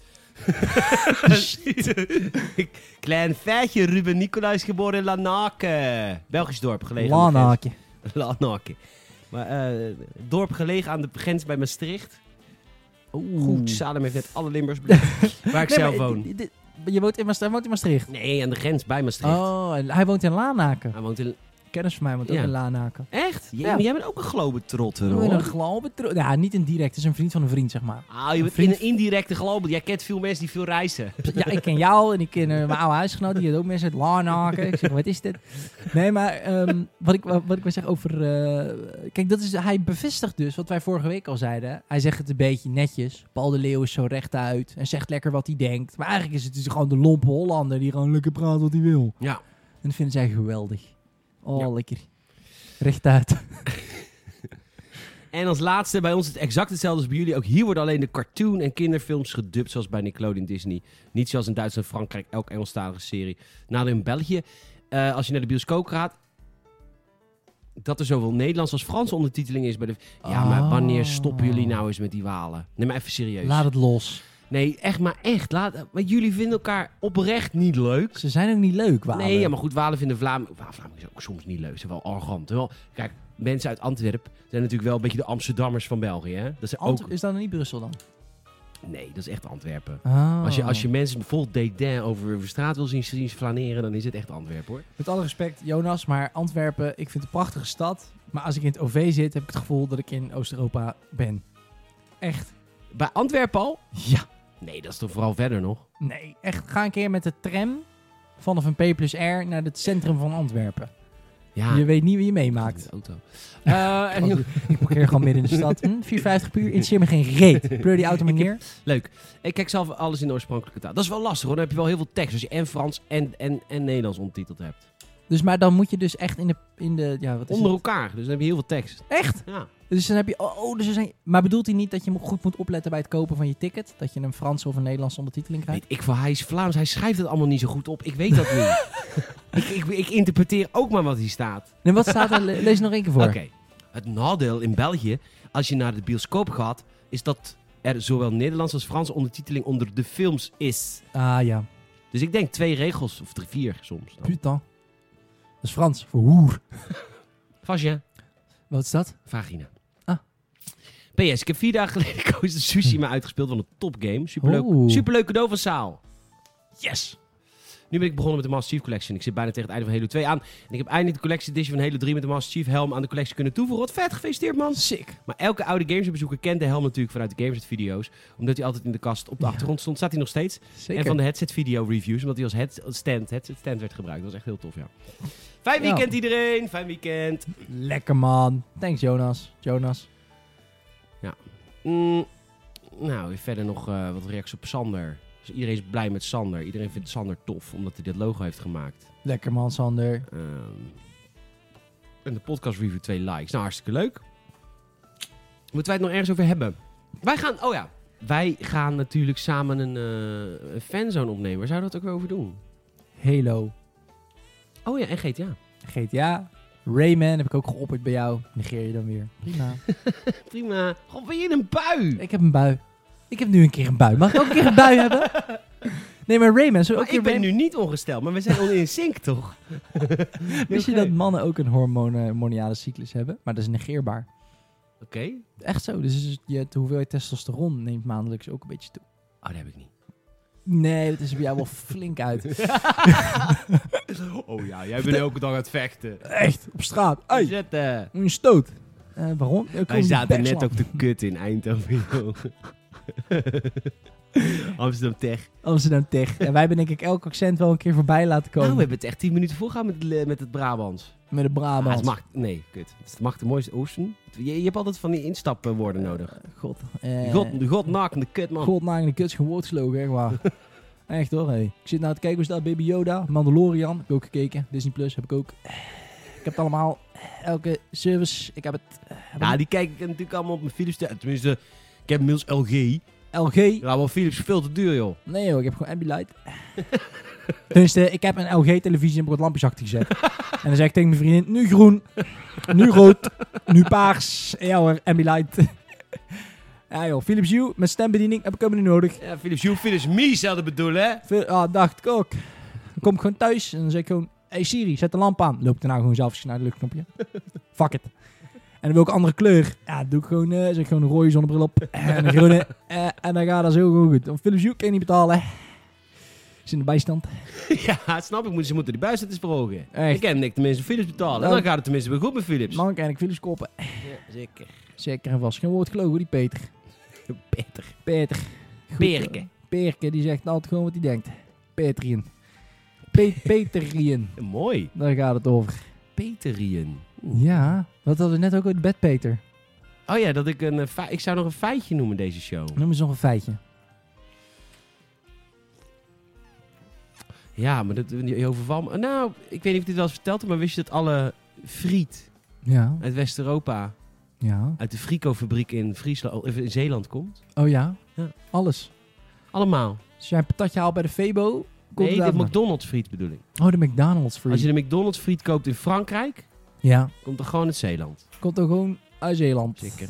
Speaker 1: <laughs> Klein feitje, Ruben Nicolai is geboren in Lanaken. Belgisch dorp gelegen. aan de grens. <laughs>
Speaker 2: Lanaakje.
Speaker 1: Lanaken. Maar eh, dorp gelegen aan de grens bij Maastricht. Goed, Salem heeft net alle Limbers
Speaker 2: <laughs>
Speaker 1: benoemd, Waar ik
Speaker 2: Nee,
Speaker 1: zelf
Speaker 2: maar,
Speaker 1: woon.
Speaker 2: eh, dit- Je woont in Maastricht. Hij woont in Maastricht.
Speaker 1: Nee, aan de grens bij Maastricht.
Speaker 2: Oh, en hij woont in Lanaken.
Speaker 1: Hij woont in...
Speaker 2: Kennis van mij woont
Speaker 1: Ja.
Speaker 2: ook in Lanaken.
Speaker 1: Echt? Jee,
Speaker 2: Ja.
Speaker 1: maar Jij bent ook een globetrotter,
Speaker 2: Oh, in een
Speaker 1: hoor.
Speaker 2: glaubetro- Ja, niet in direct. Het is een vriend van een vriend, zeg maar.
Speaker 1: Ah, je bent
Speaker 2: vriend-
Speaker 1: in een indirecte global. Jij kent veel mensen die veel reizen.
Speaker 2: Ja, ik ken jou en ik ken eh, mijn oude huisgenoot. Die had ook mensen uit Lanaken. Ik zeg, wat is dit? Nee, maar ehm, wat ik, wat ik wil zeggen over... eh, kijk, dat is, hij bevestigt dus wat wij vorige week al zeiden. Hij zegt het een beetje netjes. Paul de Leeuw is zo rechtuit en zegt lekker wat hij denkt. Maar eigenlijk is het dus gewoon de lompe Hollander die gewoon lekker praat wat hij wil.
Speaker 1: Ja.
Speaker 2: En dat vinden zij geweldig. Oh,
Speaker 1: Ja.
Speaker 2: lekker. Rechtuit.
Speaker 1: <laughs> En als laatste, bij ons is het exact hetzelfde als bij jullie. Ook hier worden alleen de cartoon- en kinderfilms gedubt, zoals bij Nickelodeon Disney. Niet zoals in Duitsland en Frankrijk, elk Engelstalige serie. Nadeel in België, eh, als je naar de bioscoop gaat... Dat er zowel Nederlands als Frans ondertiteling is bij de... Ja, maar
Speaker 2: Oh.
Speaker 1: wanneer stoppen jullie nou eens met die walen? Neem maar even serieus.
Speaker 2: Laat het los.
Speaker 1: Nee, echt maar echt. Laat... Maar jullie vinden elkaar oprecht niet leuk.
Speaker 2: Ze zijn ook niet leuk, Walen.
Speaker 1: Nee, ja, maar goed, Walen vinden Vlaam... Walen Vlamingen is ook soms niet leuk. Ze zijn wel arrogant. Wel, kijk, mensen uit Antwerpen zijn natuurlijk wel een beetje de Amsterdammers van België. Hè? Dat zijn
Speaker 2: Ant-
Speaker 1: ook...
Speaker 2: Is dat dan niet Brussel dan?
Speaker 1: Nee, dat is echt Antwerpen.
Speaker 2: Ah.
Speaker 1: Als, je, als je mensen bijvoorbeeld Dédain over de straat wil zien, zien flaneren, dan is het echt Antwerpen hoor.
Speaker 2: Met alle respect, Jonas, maar Antwerpen, ik vind het een prachtige stad. Maar als ik in het OV zit, heb ik het gevoel dat ik in Oost-Europa ben. Echt?
Speaker 1: Bij Antwerpen al?
Speaker 2: Ja.
Speaker 1: Nee, dat is toch vooral verder nog?
Speaker 2: Nee, echt. Ga een keer met de tram vanaf een P plus R naar het centrum van Antwerpen.
Speaker 1: Ja,
Speaker 2: Je weet niet wie je
Speaker 1: <laughs>
Speaker 2: meemaakt.
Speaker 1: de auto.
Speaker 2: Eh, en ik parkeer gewoon midden in de stad. Hm, 4,50 puur, interesseer me geen reet. Pleur die auto maar neer.
Speaker 1: Leuk. Ik kijk zelf alles in de oorspronkelijke taal. Dat is wel lastig hoor. Dan heb je wel heel veel tekst als je en Frans en, en, en Nederlands ontiteld hebt.
Speaker 2: Dus, maar dan moet je dus echt in de... In de ja, wat is
Speaker 1: Onder
Speaker 2: het?
Speaker 1: elkaar, dus dan heb je heel veel tekst.
Speaker 2: Echt?
Speaker 1: Ja.
Speaker 2: Dus dan heb je... Oh, oh, dus er zijn, maar bedoelt hij niet dat je goed moet opletten bij het kopen van je ticket? Dat je een Franse of een Nederlandse ondertiteling krijgt?
Speaker 1: Weet ik veel, hij is Vlaams, hij schrijft het allemaal niet zo goed op. Ik weet dat
Speaker 2: <laughs>
Speaker 1: niet. ik, ik, ik interpreteer ook maar wat hier staat.
Speaker 2: En wat staat er? Le- Lees nog één keer voor.
Speaker 1: Oké. Het nadeel in België, als je naar de bioscoop gaat, is dat er zowel Nederlands als Frans ondertiteling onder de films is.
Speaker 2: Ah ja,
Speaker 1: Dus ik denk twee regels, of drie, vier soms. dan.
Speaker 2: putain. Dat is Frans, voor hoer.
Speaker 1: Vagina.
Speaker 2: Wat is dat?
Speaker 1: Vagina.
Speaker 2: Ah.
Speaker 1: PS, ik heb vier dagen geleden <laughs> Koos de Sushi maar uitgespeeld van een topgame. Superleuk,
Speaker 2: Oeh.
Speaker 1: superleuk cadeau van Saal.
Speaker 2: Yes!
Speaker 1: Nu ben ik begonnen met de Master Chief Collection. Ik zit bijna tegen het einde van Halo 2 aan. En ik heb eindelijk de collectie edition van Halo 3 met de Master Chief helm aan de collectie kunnen toevoegen. Wat vet, gefeliciteerd man.
Speaker 2: Sick.
Speaker 1: Maar elke oude gamesbezoeker kent de helm natuurlijk vanuit de Gamerset video's. Omdat hij altijd in de kast op de
Speaker 2: Ja.
Speaker 1: achtergrond stond, staat hij nog steeds.
Speaker 2: Zeker.
Speaker 1: En van de headset video reviews, omdat hij als headset stand, headset stand werd gebruikt. Dat was echt heel tof, ja. Fijn
Speaker 2: Ja.
Speaker 1: weekend iedereen, fijn weekend.
Speaker 2: Lekker man. Thanks Jonas. Jonas.
Speaker 1: Mm, nou, verder nog eh, wat reacties op Sander. Dus iedereen is blij met Sander. Iedereen vindt Sander tof, omdat hij dit logo heeft gemaakt.
Speaker 2: Lekker man Sander.
Speaker 1: Ehm, en de podcast review 2 likes. Nou, hartstikke leuk. Moeten wij het nog ergens over hebben? Wij gaan, oh ja. Wij gaan natuurlijk samen een, eh, een fanzone opnemen. Waar zouden we dat ook weer over doen?
Speaker 2: Halo.
Speaker 1: Oh ja, en GTA.
Speaker 2: GTA. Rayman heb ik ook geopperd bij jou. Negeer je dan weer. <laughs> Prima.
Speaker 1: Prima. God, ben je in een bui?
Speaker 2: ik heb een bui. Ik heb nu een keer een bui. Mag ik ook een keer een bui <laughs> hebben? Nee, maar Rayman. Zo
Speaker 1: Maar
Speaker 2: ook
Speaker 1: ik ben
Speaker 2: Rayman-
Speaker 1: nu niet ongesteld, maar we zijn al in <laughs> sync, toch?
Speaker 2: Wist je dat mannen ook een hormonale cyclus hebben? Maar dat is negeerbaar.
Speaker 1: Oké.
Speaker 2: Echt zo. Dus is- je, de hoeveelheid testosteron neemt maandelijks ook een beetje toe.
Speaker 1: Oh, dat heb ik niet.
Speaker 2: Nee, dat is bij
Speaker 1: <laughs>
Speaker 2: jou wel flink uit.
Speaker 1: oh ja, jij bent elke dag aan het vechten.
Speaker 2: Echt, op straat. Ei,
Speaker 1: Zet, eh.
Speaker 2: een stoot. Eh, waarom? Ik
Speaker 1: Wij zaten net ook de kut in Eindhoven, joh. <laughs> Amsterdam Tech.
Speaker 2: Amsterdam Tech. En wij hebben denk ik elk accent wel een keer voorbij laten komen.
Speaker 1: Nou, we hebben het echt 10 minuten volgehouden met, het le- met het Brabants.
Speaker 2: Met de
Speaker 1: Ah,
Speaker 2: Brabant.
Speaker 1: het mag, nee, kut. Het mag de mooiste oosten. Je, je hebt altijd van die instapwoorden nodig.
Speaker 2: God. eh,
Speaker 1: God, godnakende kut, man.
Speaker 2: God naar de kuts gewoodslogen, echt
Speaker 1: <laughs>
Speaker 2: waar. echt hoor, hé. Ik zit nou te kijken, hoe staat Baby Yoda? Mandalorian, heb ik ook gekeken. Disney Plus heb ik ook. Ik heb het allemaal. Elke service, ik heb het. eh, heb
Speaker 1: Ja,
Speaker 2: het-
Speaker 1: die kijk ik natuurlijk allemaal op mijn Philips. te- Tenminste, ik heb inmiddels LG.
Speaker 2: LG.
Speaker 1: Ja, maar Philips is veel te duur, joh.
Speaker 2: Nee joh, ik heb gewoon Ambilight. <laughs> dus eh, ik heb een LG-televisie en heb ik wat lampjes achter gezet. en dan zeg ik tegen mijn vriendin, nu groen, nu rood, nu paars. En Ja hoor, Ambilight. <laughs> ja joh, Philips Hue met stembediening heb ik helemaal niet nodig.
Speaker 1: Ja, Philips Hue, Philips Me zou dat bedoelen,
Speaker 2: <laughs>
Speaker 1: hè?
Speaker 2: Veel- Ah, dacht ik ook. Dan kom ik gewoon thuis en dan zeg ik gewoon... Hey Siri, zet de lamp aan. Loopt er nou gewoon zelf naar het luchtknopje. <laughs> Fuck it. En dan wil ik een andere kleur. Ja, doe ik gewoon, eh, zet ik gewoon een rode zonnebril op. En een groene. <laughs> Eh, en dan gaat dat zo gewoon goed. Want Philips Hue kan je niet betalen. Is in de bijstand.
Speaker 1: Ja, snap ik. Ze moeten die buiszetters verhogen.
Speaker 2: Echt.
Speaker 1: Ik ken niks tenminste Philips betalen.
Speaker 2: Nou.
Speaker 1: dan gaat het tenminste weer goed met Philips.
Speaker 2: Man kan ik Philips koppen.
Speaker 1: zeker. <laughs>
Speaker 2: Zeker en vast. Geen woord gelogen hoor, die Peter.
Speaker 1: Peter.
Speaker 2: Peter. Goed,
Speaker 1: Perke.
Speaker 2: eh, Perke, die zegt altijd gewoon wat hij denkt. Petrien. Pe <laughs> Peterien.
Speaker 1: Mooi.
Speaker 2: Daar gaat het over.
Speaker 1: Peterien.
Speaker 2: Ja, wat hadden we net ook uit bed, Peter.
Speaker 1: Oh ja, dat ik een. eh, fei- ik zou nog een feitje noemen deze show.
Speaker 2: Noem eens nog een feitje.
Speaker 1: Ja, maar dat je overval me. Nou, ik weet niet of ik dit wel eens verteld heb, maar wist je dat alle friet
Speaker 2: Ja,
Speaker 1: uit West-Europa
Speaker 2: ja.
Speaker 1: uit de Frico-fabriek in, Friesland, of in Zeeland komt?
Speaker 2: Oh ja?
Speaker 1: Ja.
Speaker 2: Alles.
Speaker 1: Allemaal.
Speaker 2: Dus als jij een patatje haalt bij de Febo, komt
Speaker 1: nee,
Speaker 2: het
Speaker 1: de
Speaker 2: daarvan.
Speaker 1: McDonald's friet bedoel ik.
Speaker 2: Oh, de McDonald's free.
Speaker 1: Als je de McDonald's friet koopt in Frankrijk,
Speaker 2: Ja,
Speaker 1: komt er gewoon uit Zeeland.
Speaker 2: komt ook gewoon uit
Speaker 1: <laughs>
Speaker 2: Zeeland.
Speaker 1: Zeker.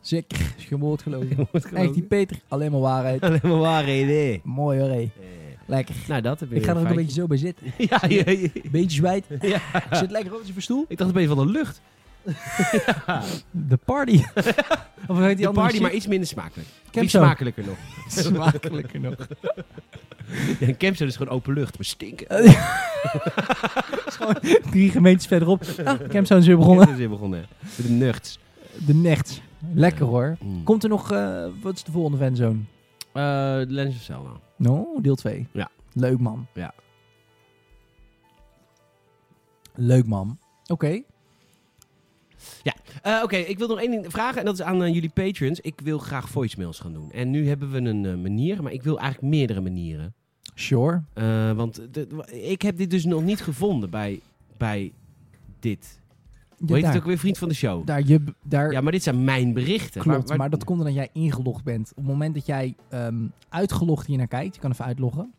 Speaker 2: Zeker. <laughs> Is Geen woord gelogen.
Speaker 1: Wordt gewoon- <laughs>
Speaker 2: Echt, die Peter. Alleen maar <laughs> waarheid.
Speaker 1: Alleen maar waarheden.
Speaker 2: Mooi hoor, hé.
Speaker 1: Eh,
Speaker 2: Lekker.
Speaker 1: Nou, dat heb ik.
Speaker 2: Ik ga er ook een
Speaker 1: fijn.
Speaker 2: beetje zo bij <laughs> zitten.
Speaker 1: Ja, <laughs> ja, ja.
Speaker 2: Beetje zwijt.
Speaker 1: Ja.
Speaker 2: Ik zit lekker op zijn verstoel.
Speaker 1: Ik dacht een beetje van de lucht.
Speaker 2: De <laughs> party. of heet die
Speaker 1: De
Speaker 2: andere
Speaker 1: party,
Speaker 2: shit?
Speaker 1: maar iets minder smakelijk.
Speaker 2: Ik heb
Speaker 1: Iets
Speaker 2: zo.
Speaker 1: smakelijker nog.
Speaker 2: <laughs> Smakelijker <laughs> nog.
Speaker 1: Ja, een campzone is gewoon open lucht, maar stinken.
Speaker 2: <laughs> Drie gemeentes verderop. Ah, Campzone is weer begonnen.
Speaker 1: Campzone is weer begonnen. Met de nuchts.
Speaker 2: De Nechts. Lekker hoor.
Speaker 1: Mm.
Speaker 2: Komt er nog... eh, wat is de volgende fanzone?
Speaker 1: Eh, de Legend of Zelda.
Speaker 2: No, deel 2.
Speaker 1: Ja.
Speaker 2: Leuk man.
Speaker 1: Ja.
Speaker 2: Leuk man. Oké.
Speaker 1: Eh, Oké, ik wil nog één ding vragen. En dat is aan eh, jullie patrons. Ik wil graag voicemails gaan doen. En nu hebben we een eh, manier, maar ik wil eigenlijk meerdere manieren.
Speaker 2: Sure.
Speaker 1: Eh, want de- ik heb dit dus nog niet gevonden bij, bij dit.
Speaker 2: Ja,
Speaker 1: Hoe heet
Speaker 2: daar,
Speaker 1: het ook weer? Vriend van de show.
Speaker 2: daar, je, daar
Speaker 1: Ja, maar dit zijn mijn berichten.
Speaker 2: klopt.
Speaker 1: Waar-
Speaker 2: Maar,
Speaker 1: waar-
Speaker 2: dat komt omdat jij ingelogd bent. Op het moment dat jij ehm, uitgelogd hier naar kijkt, je kan even uitloggen.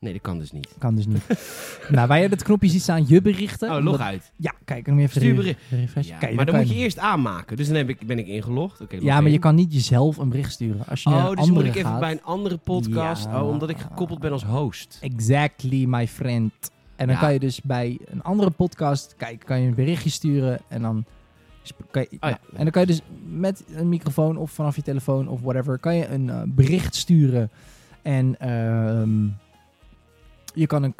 Speaker 1: Nee, dat kan dus niet.
Speaker 2: Kan dus
Speaker 1: <laughs>
Speaker 2: niet. nou, waar je dat knopje ziet staan, je berichten.
Speaker 1: Oh, log
Speaker 2: omdat-
Speaker 1: uit.
Speaker 2: Ja, kijk, dan moet je even
Speaker 1: Stuur
Speaker 2: re-
Speaker 1: bericht.
Speaker 2: refresh.
Speaker 1: Ja,
Speaker 2: Kijk,
Speaker 1: maar dan
Speaker 2: daar kan
Speaker 1: moet je eerst aanmaken. Dus dan heb ik, ben ik ingelogd. Oké, log
Speaker 2: Ja, maar
Speaker 1: in.
Speaker 2: je kan niet jezelf een bericht sturen. Als je naar
Speaker 1: Oh,
Speaker 2: een
Speaker 1: dus dan moet
Speaker 2: andere
Speaker 1: ik even
Speaker 2: gaat.
Speaker 1: bij een andere podcast.
Speaker 2: Ja.
Speaker 1: Oh, omdat ik gekoppeld ben als host.
Speaker 2: Exactly, my friend. En dan
Speaker 1: Ja.
Speaker 2: kan je dus bij een andere podcast, kijk, kan je een berichtje sturen en dan. sp- Kan je,
Speaker 1: Oh ja.
Speaker 2: nou, en dan kan je dus met een microfoon of vanaf je telefoon of whatever, kan je een eh, bericht sturen. En ehm, Je kan een,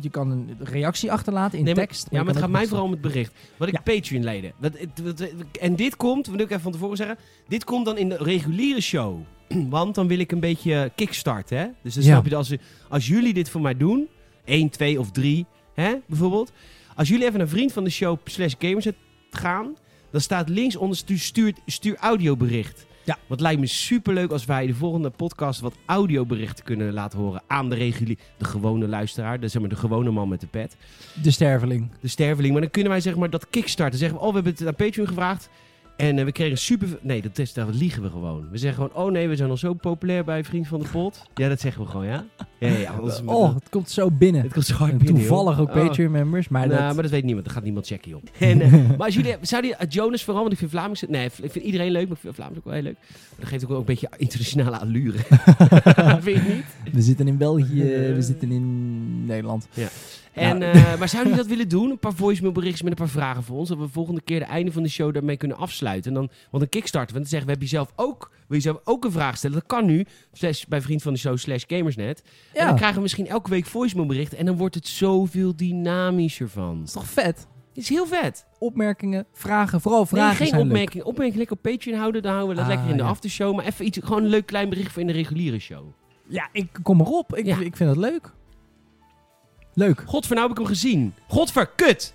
Speaker 2: je kan een reactie achterlaten in
Speaker 1: Nee, maar-
Speaker 2: tekst.
Speaker 1: Ja,
Speaker 2: je
Speaker 1: maar het
Speaker 2: kan
Speaker 1: gaat
Speaker 2: ook
Speaker 1: mij
Speaker 2: nog-
Speaker 1: vooral om het bericht. Wat ik Patreon leidde. Wat- het- wat- En dit komt, wil ik even van tevoren zeggen. Dit komt dan in de reguliere show. <clears throat> Want dan wil ik een beetje kickstarten. Hè? Dus dan
Speaker 2: Ja.
Speaker 1: snap je dat als, als jullie dit voor mij doen. 1, 2 of 3 hè, bijvoorbeeld. Als jullie even naar vriend van de show slash gamers gaan. Dan staat links onder stuur, stuur, stuur audiobericht.
Speaker 2: Ja.
Speaker 1: Wat lijkt me superleuk als wij de volgende podcast wat audioberichten kunnen laten horen aan de reguliere, de gewone luisteraar, de, zeg maar de gewone man met de pet
Speaker 2: De sterveling.
Speaker 1: de sterveling. Maar dan kunnen wij zeg maar dat kickstarten. Zeggen we, oh, we hebben het aan Patreon gevraagd. En eh, we kregen super... Nee, dat is, daar liegen we gewoon. We zeggen gewoon, oh nee, we zijn al zo populair bij Vriend van de Pot. Ja, dat zeggen we gewoon, ja? Ja,
Speaker 2: <laughs>
Speaker 1: ja, ja, anders-
Speaker 2: Oh, het komt zo binnen.
Speaker 1: het komt zo hard
Speaker 2: En
Speaker 1: binnen, joh.
Speaker 2: toevallig ook
Speaker 1: Oh.
Speaker 2: Patreon-members, maar
Speaker 1: Nou,
Speaker 2: dat...
Speaker 1: maar dat weet niemand. Dat gaat niemand checken, joh. En,
Speaker 2: <laughs>
Speaker 1: eh, maar als jullie, zou die eh, Jonas vooral, want ik vind Vlamings... Nee, ik vind iedereen leuk, maar ik vind Vlamings ook wel heel leuk. Maar dat geeft ook wel een beetje internationale allure. <laughs> vind je niet?
Speaker 2: We zitten in België, we zitten in
Speaker 1: <laughs>
Speaker 2: Nederland. <laughs>
Speaker 1: En,
Speaker 2: Ja.
Speaker 1: eh, maar zou jullie dat willen doen? Een paar voicemail berichtjes met een paar vragen voor ons. Dat we volgende keer de einde van de show daarmee kunnen afsluiten. En dan, want een kickstarter. Want dan zeggen we, heb je zelf ook, wil je zelf ook een vraag stellen? Dat kan nu. Slash, bij vriend van de show slash gamersnet. En
Speaker 2: Ja,
Speaker 1: dan
Speaker 2: dat
Speaker 1: krijgen we misschien elke week voicemail berichten. En dan wordt het zoveel dynamischer van.
Speaker 2: is toch vet?
Speaker 1: Het is heel vet.
Speaker 2: Opmerkingen, vragen, vooral
Speaker 1: Nee,
Speaker 2: vragen
Speaker 1: geen
Speaker 2: zijn leuk.
Speaker 1: opmerking. Opmerking lekker op Patreon houden. Dan houden we dat
Speaker 2: Ah,
Speaker 1: lekker in de
Speaker 2: ja.
Speaker 1: aftershow. Maar even iets, gewoon een leuk klein bericht voor in de reguliere show.
Speaker 2: Ja, ik kom erop. Ik,
Speaker 1: Ja.
Speaker 2: ik vind dat leuk. Leuk.
Speaker 1: Godver, nou heb ik hem gezien. Godver,
Speaker 2: <laughs>
Speaker 1: kut!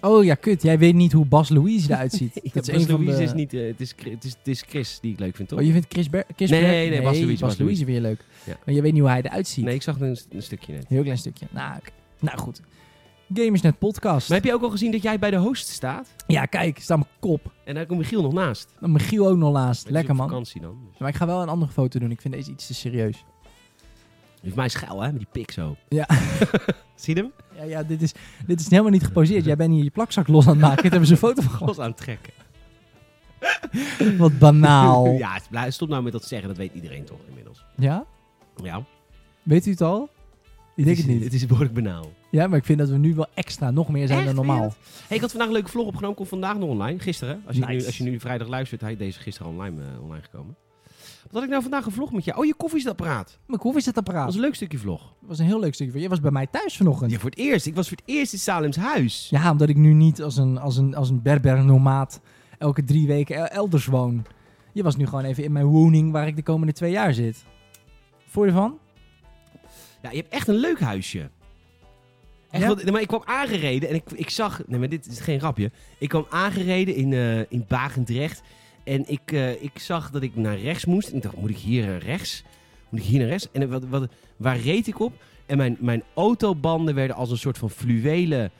Speaker 2: Oh ja, kut. Jij weet niet hoe Bas Louise eruit
Speaker 1: <laughs>
Speaker 2: ziet. dat is
Speaker 1: Bas
Speaker 2: een van
Speaker 1: Louise
Speaker 2: de...
Speaker 1: is niet... eh, het, is, Chris- het, is, het is Chris die ik leuk vind, toch?
Speaker 2: Oh, je vindt Chris, Ber Chris
Speaker 1: Nee,
Speaker 2: Ber-
Speaker 1: nee, Bas Louise,
Speaker 2: Bas
Speaker 1: Bas
Speaker 2: Louise weer leuk.
Speaker 1: Ja.
Speaker 2: Maar je weet niet hoe hij eruit ziet.
Speaker 1: Nee, ik zag een, een stukje net.
Speaker 2: Heel klein stukje. Nou, oké. nou goed. Gamersnet podcast.
Speaker 1: Maar heb je ook al gezien dat jij bij de host staat?
Speaker 2: Ja, kijk. Staat mijn kop.
Speaker 1: En daar komt Michiel nog naast.
Speaker 2: Dan Michiel ook nog laatst.
Speaker 1: Hij is
Speaker 2: Lekker
Speaker 1: op
Speaker 2: man.
Speaker 1: vakantie dan. Dus.
Speaker 2: Maar ik ga wel een andere foto doen. Ik vind deze iets te serieus.
Speaker 1: Die Heeft mij schuil, hè? Met die pik zo.
Speaker 2: Ja.
Speaker 1: <laughs> Zie je hem?
Speaker 2: Ja, ja dit, is, dit is helemaal niet geposeerd. Jij bent hier je plakzak los aan het maken. Dit hebben ze een foto van gemaakt.
Speaker 1: <laughs> Los aan het trekken.
Speaker 2: Wat banaal. Ja?
Speaker 1: ja, het is blij- stop nou met dat zeggen. Dat weet iedereen toch inmiddels. Ja.
Speaker 2: Weet u het al? Ik denk
Speaker 1: is,
Speaker 2: het niet.
Speaker 1: Het is behoorlijk banaal.
Speaker 2: Ja, maar ik vind dat we nu wel extra nog meer zijn
Speaker 1: Echt?
Speaker 2: dan normaal.
Speaker 1: Hey, ik had vandaag een leuke vlog opgenomen. Komt vandaag nog online. Gisteren. Als je, nu,
Speaker 2: Nice.
Speaker 1: als je nu vrijdag luistert. Hij deze gisteren online, eh, online gekomen. Wat had ik nou vandaag een vlog met jou? Oh, je koffiezetapparaat. Dat
Speaker 2: Maar hoe is dat apparaat?
Speaker 1: was een leuk stukje vlog.
Speaker 2: Het was een heel leuk stukje. van je. Je was bij mij thuis vanochtend.
Speaker 1: Ja, voor het eerst. Ik was voor het eerst in Salems huis.
Speaker 2: Ja, omdat ik nu niet als een, als een, als een berber-nomaat elke drie weken el- elders woon. Je was nu gewoon even in mijn woning waar ik de komende twee jaar zit. Voel je ervan?
Speaker 1: Ja, je hebt echt een leuk huisje. Echt,
Speaker 2: Ja?
Speaker 1: want- nee, maar ik kwam aangereden en ik, ik zag... Nee, maar dit is geen grapje. Ik kwam aangereden in, eh, in Bagendrecht. En ik, eh, ik zag dat ik naar rechts moest. En ik dacht, moet ik hier naar rechts? Moet ik hier naar rechts? En wat, wat, waar reed ik op? En mijn, mijn autobanden werden als een soort van fluwelen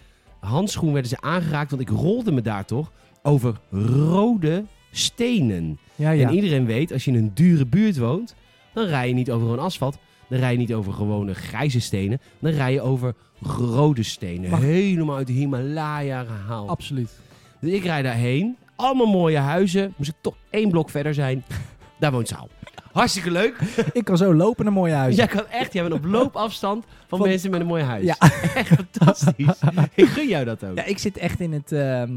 Speaker 1: handschoen werden ze aangeraakt. Want ik rolde me daar toch over rode stenen.
Speaker 2: Ja,
Speaker 1: En iedereen weet, als je in een dure buurt woont, dan rij je niet over gewoon asfalt. Dan rij je niet over gewone grijze stenen. Dan rij je over rode stenen.
Speaker 2: Mag-
Speaker 1: Helemaal uit de Himalaya gehaald.
Speaker 2: Absoluut.
Speaker 1: dus ik rijd daarheen. Allemaal mooie huizen. Moest ik toch één blok verder
Speaker 2: <laughs>
Speaker 1: zijn. Daar woont Saal. Hartstikke leuk.
Speaker 2: ik kan zo lopen naar mooie huis.
Speaker 1: Jij kan echt, jij
Speaker 2: <laughs>
Speaker 1: bent op loopafstand van,
Speaker 2: Van-
Speaker 1: mensen met een mooi huis.
Speaker 2: Ja.
Speaker 1: <laughs> Echt
Speaker 2: <laughs>
Speaker 1: fantastisch. Ik gun jou dat ook.
Speaker 2: Ja, ik zit echt in het. ehm,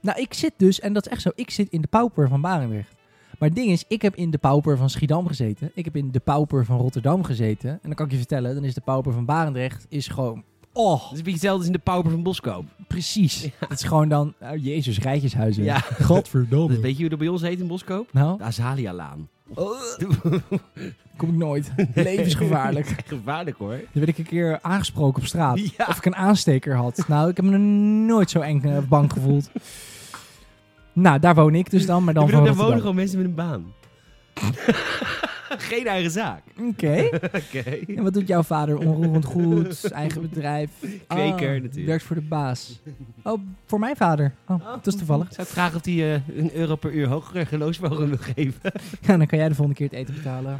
Speaker 2: Nou, ik zit dus, en dat is echt zo, ik zit in de pauper van Barendrecht. Maar het ding is, ik heb in de pauper van Schiedam gezeten. Ik heb in de pauper van Rotterdam gezeten. En dan kan ik je vertellen, dan is de pauper van Barendrecht is gewoon... Oh,
Speaker 1: Dat is een beetje hetzelfde als in de Pauper van Boskoop.
Speaker 2: precies. Het is gewoon dan... Oh, jezus, rijtjeshuizen.
Speaker 1: Ja.
Speaker 2: Godverdomme.
Speaker 1: Weet je hoe dat bij ons heet in Boskoop?
Speaker 2: Nou,
Speaker 1: De Azalialaan.
Speaker 2: kom ik
Speaker 1: <laughs>
Speaker 2: nooit. Levensgevaarlijk.
Speaker 1: Gevaarlijk hoor.
Speaker 2: Dan werd ik een keer aangesproken op straat.
Speaker 1: Ja.
Speaker 2: Of ik een aansteker had. Nou, ik heb me nooit zo eng eh, bang gevoeld. nou, daar woon ik dus dan, maar dan
Speaker 1: ik
Speaker 2: van
Speaker 1: bedoel, daar wonen
Speaker 2: Rotterdam.
Speaker 1: gewoon mensen met een baan. <laughs> Geen eigen zaak.
Speaker 2: Oké.
Speaker 1: <laughs> Oké.
Speaker 2: En wat doet jouw vader? Onroerend
Speaker 1: <laughs>
Speaker 2: goed, eigen bedrijf.
Speaker 1: Kweker
Speaker 2: Ah,
Speaker 1: natuurlijk.
Speaker 2: Werkt voor de baas. Oh, voor mijn vader. Oh, dat is toevallig. <laughs>
Speaker 1: Zou ik vragen of hij eh, een euro per uur hogere geloofsmogen wil <laughs> geven?
Speaker 2: Ja, dan kan jij de volgende keer het eten
Speaker 1: <laughs>
Speaker 2: betalen.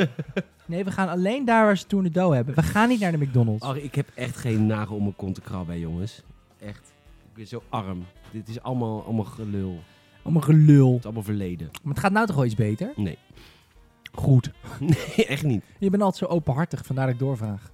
Speaker 2: Nee, we gaan alleen daar waar ze toen de dough hebben. We gaan niet naar de McDonald's.
Speaker 1: Ach, ik heb echt geen nagel om mijn kont te krabben, hè, jongens. Echt. Ik ben zo arm. Dit is allemaal, allemaal gelul. Het
Speaker 2: Om een gelul.
Speaker 1: is allemaal
Speaker 2: <laughs>
Speaker 1: verleden.
Speaker 2: Maar het gaat nou toch wel iets beter?
Speaker 1: Nee.
Speaker 2: Goed.
Speaker 1: Nee, echt niet.
Speaker 2: Je bent altijd zo openhartig, vandaar dat ik doorvraag.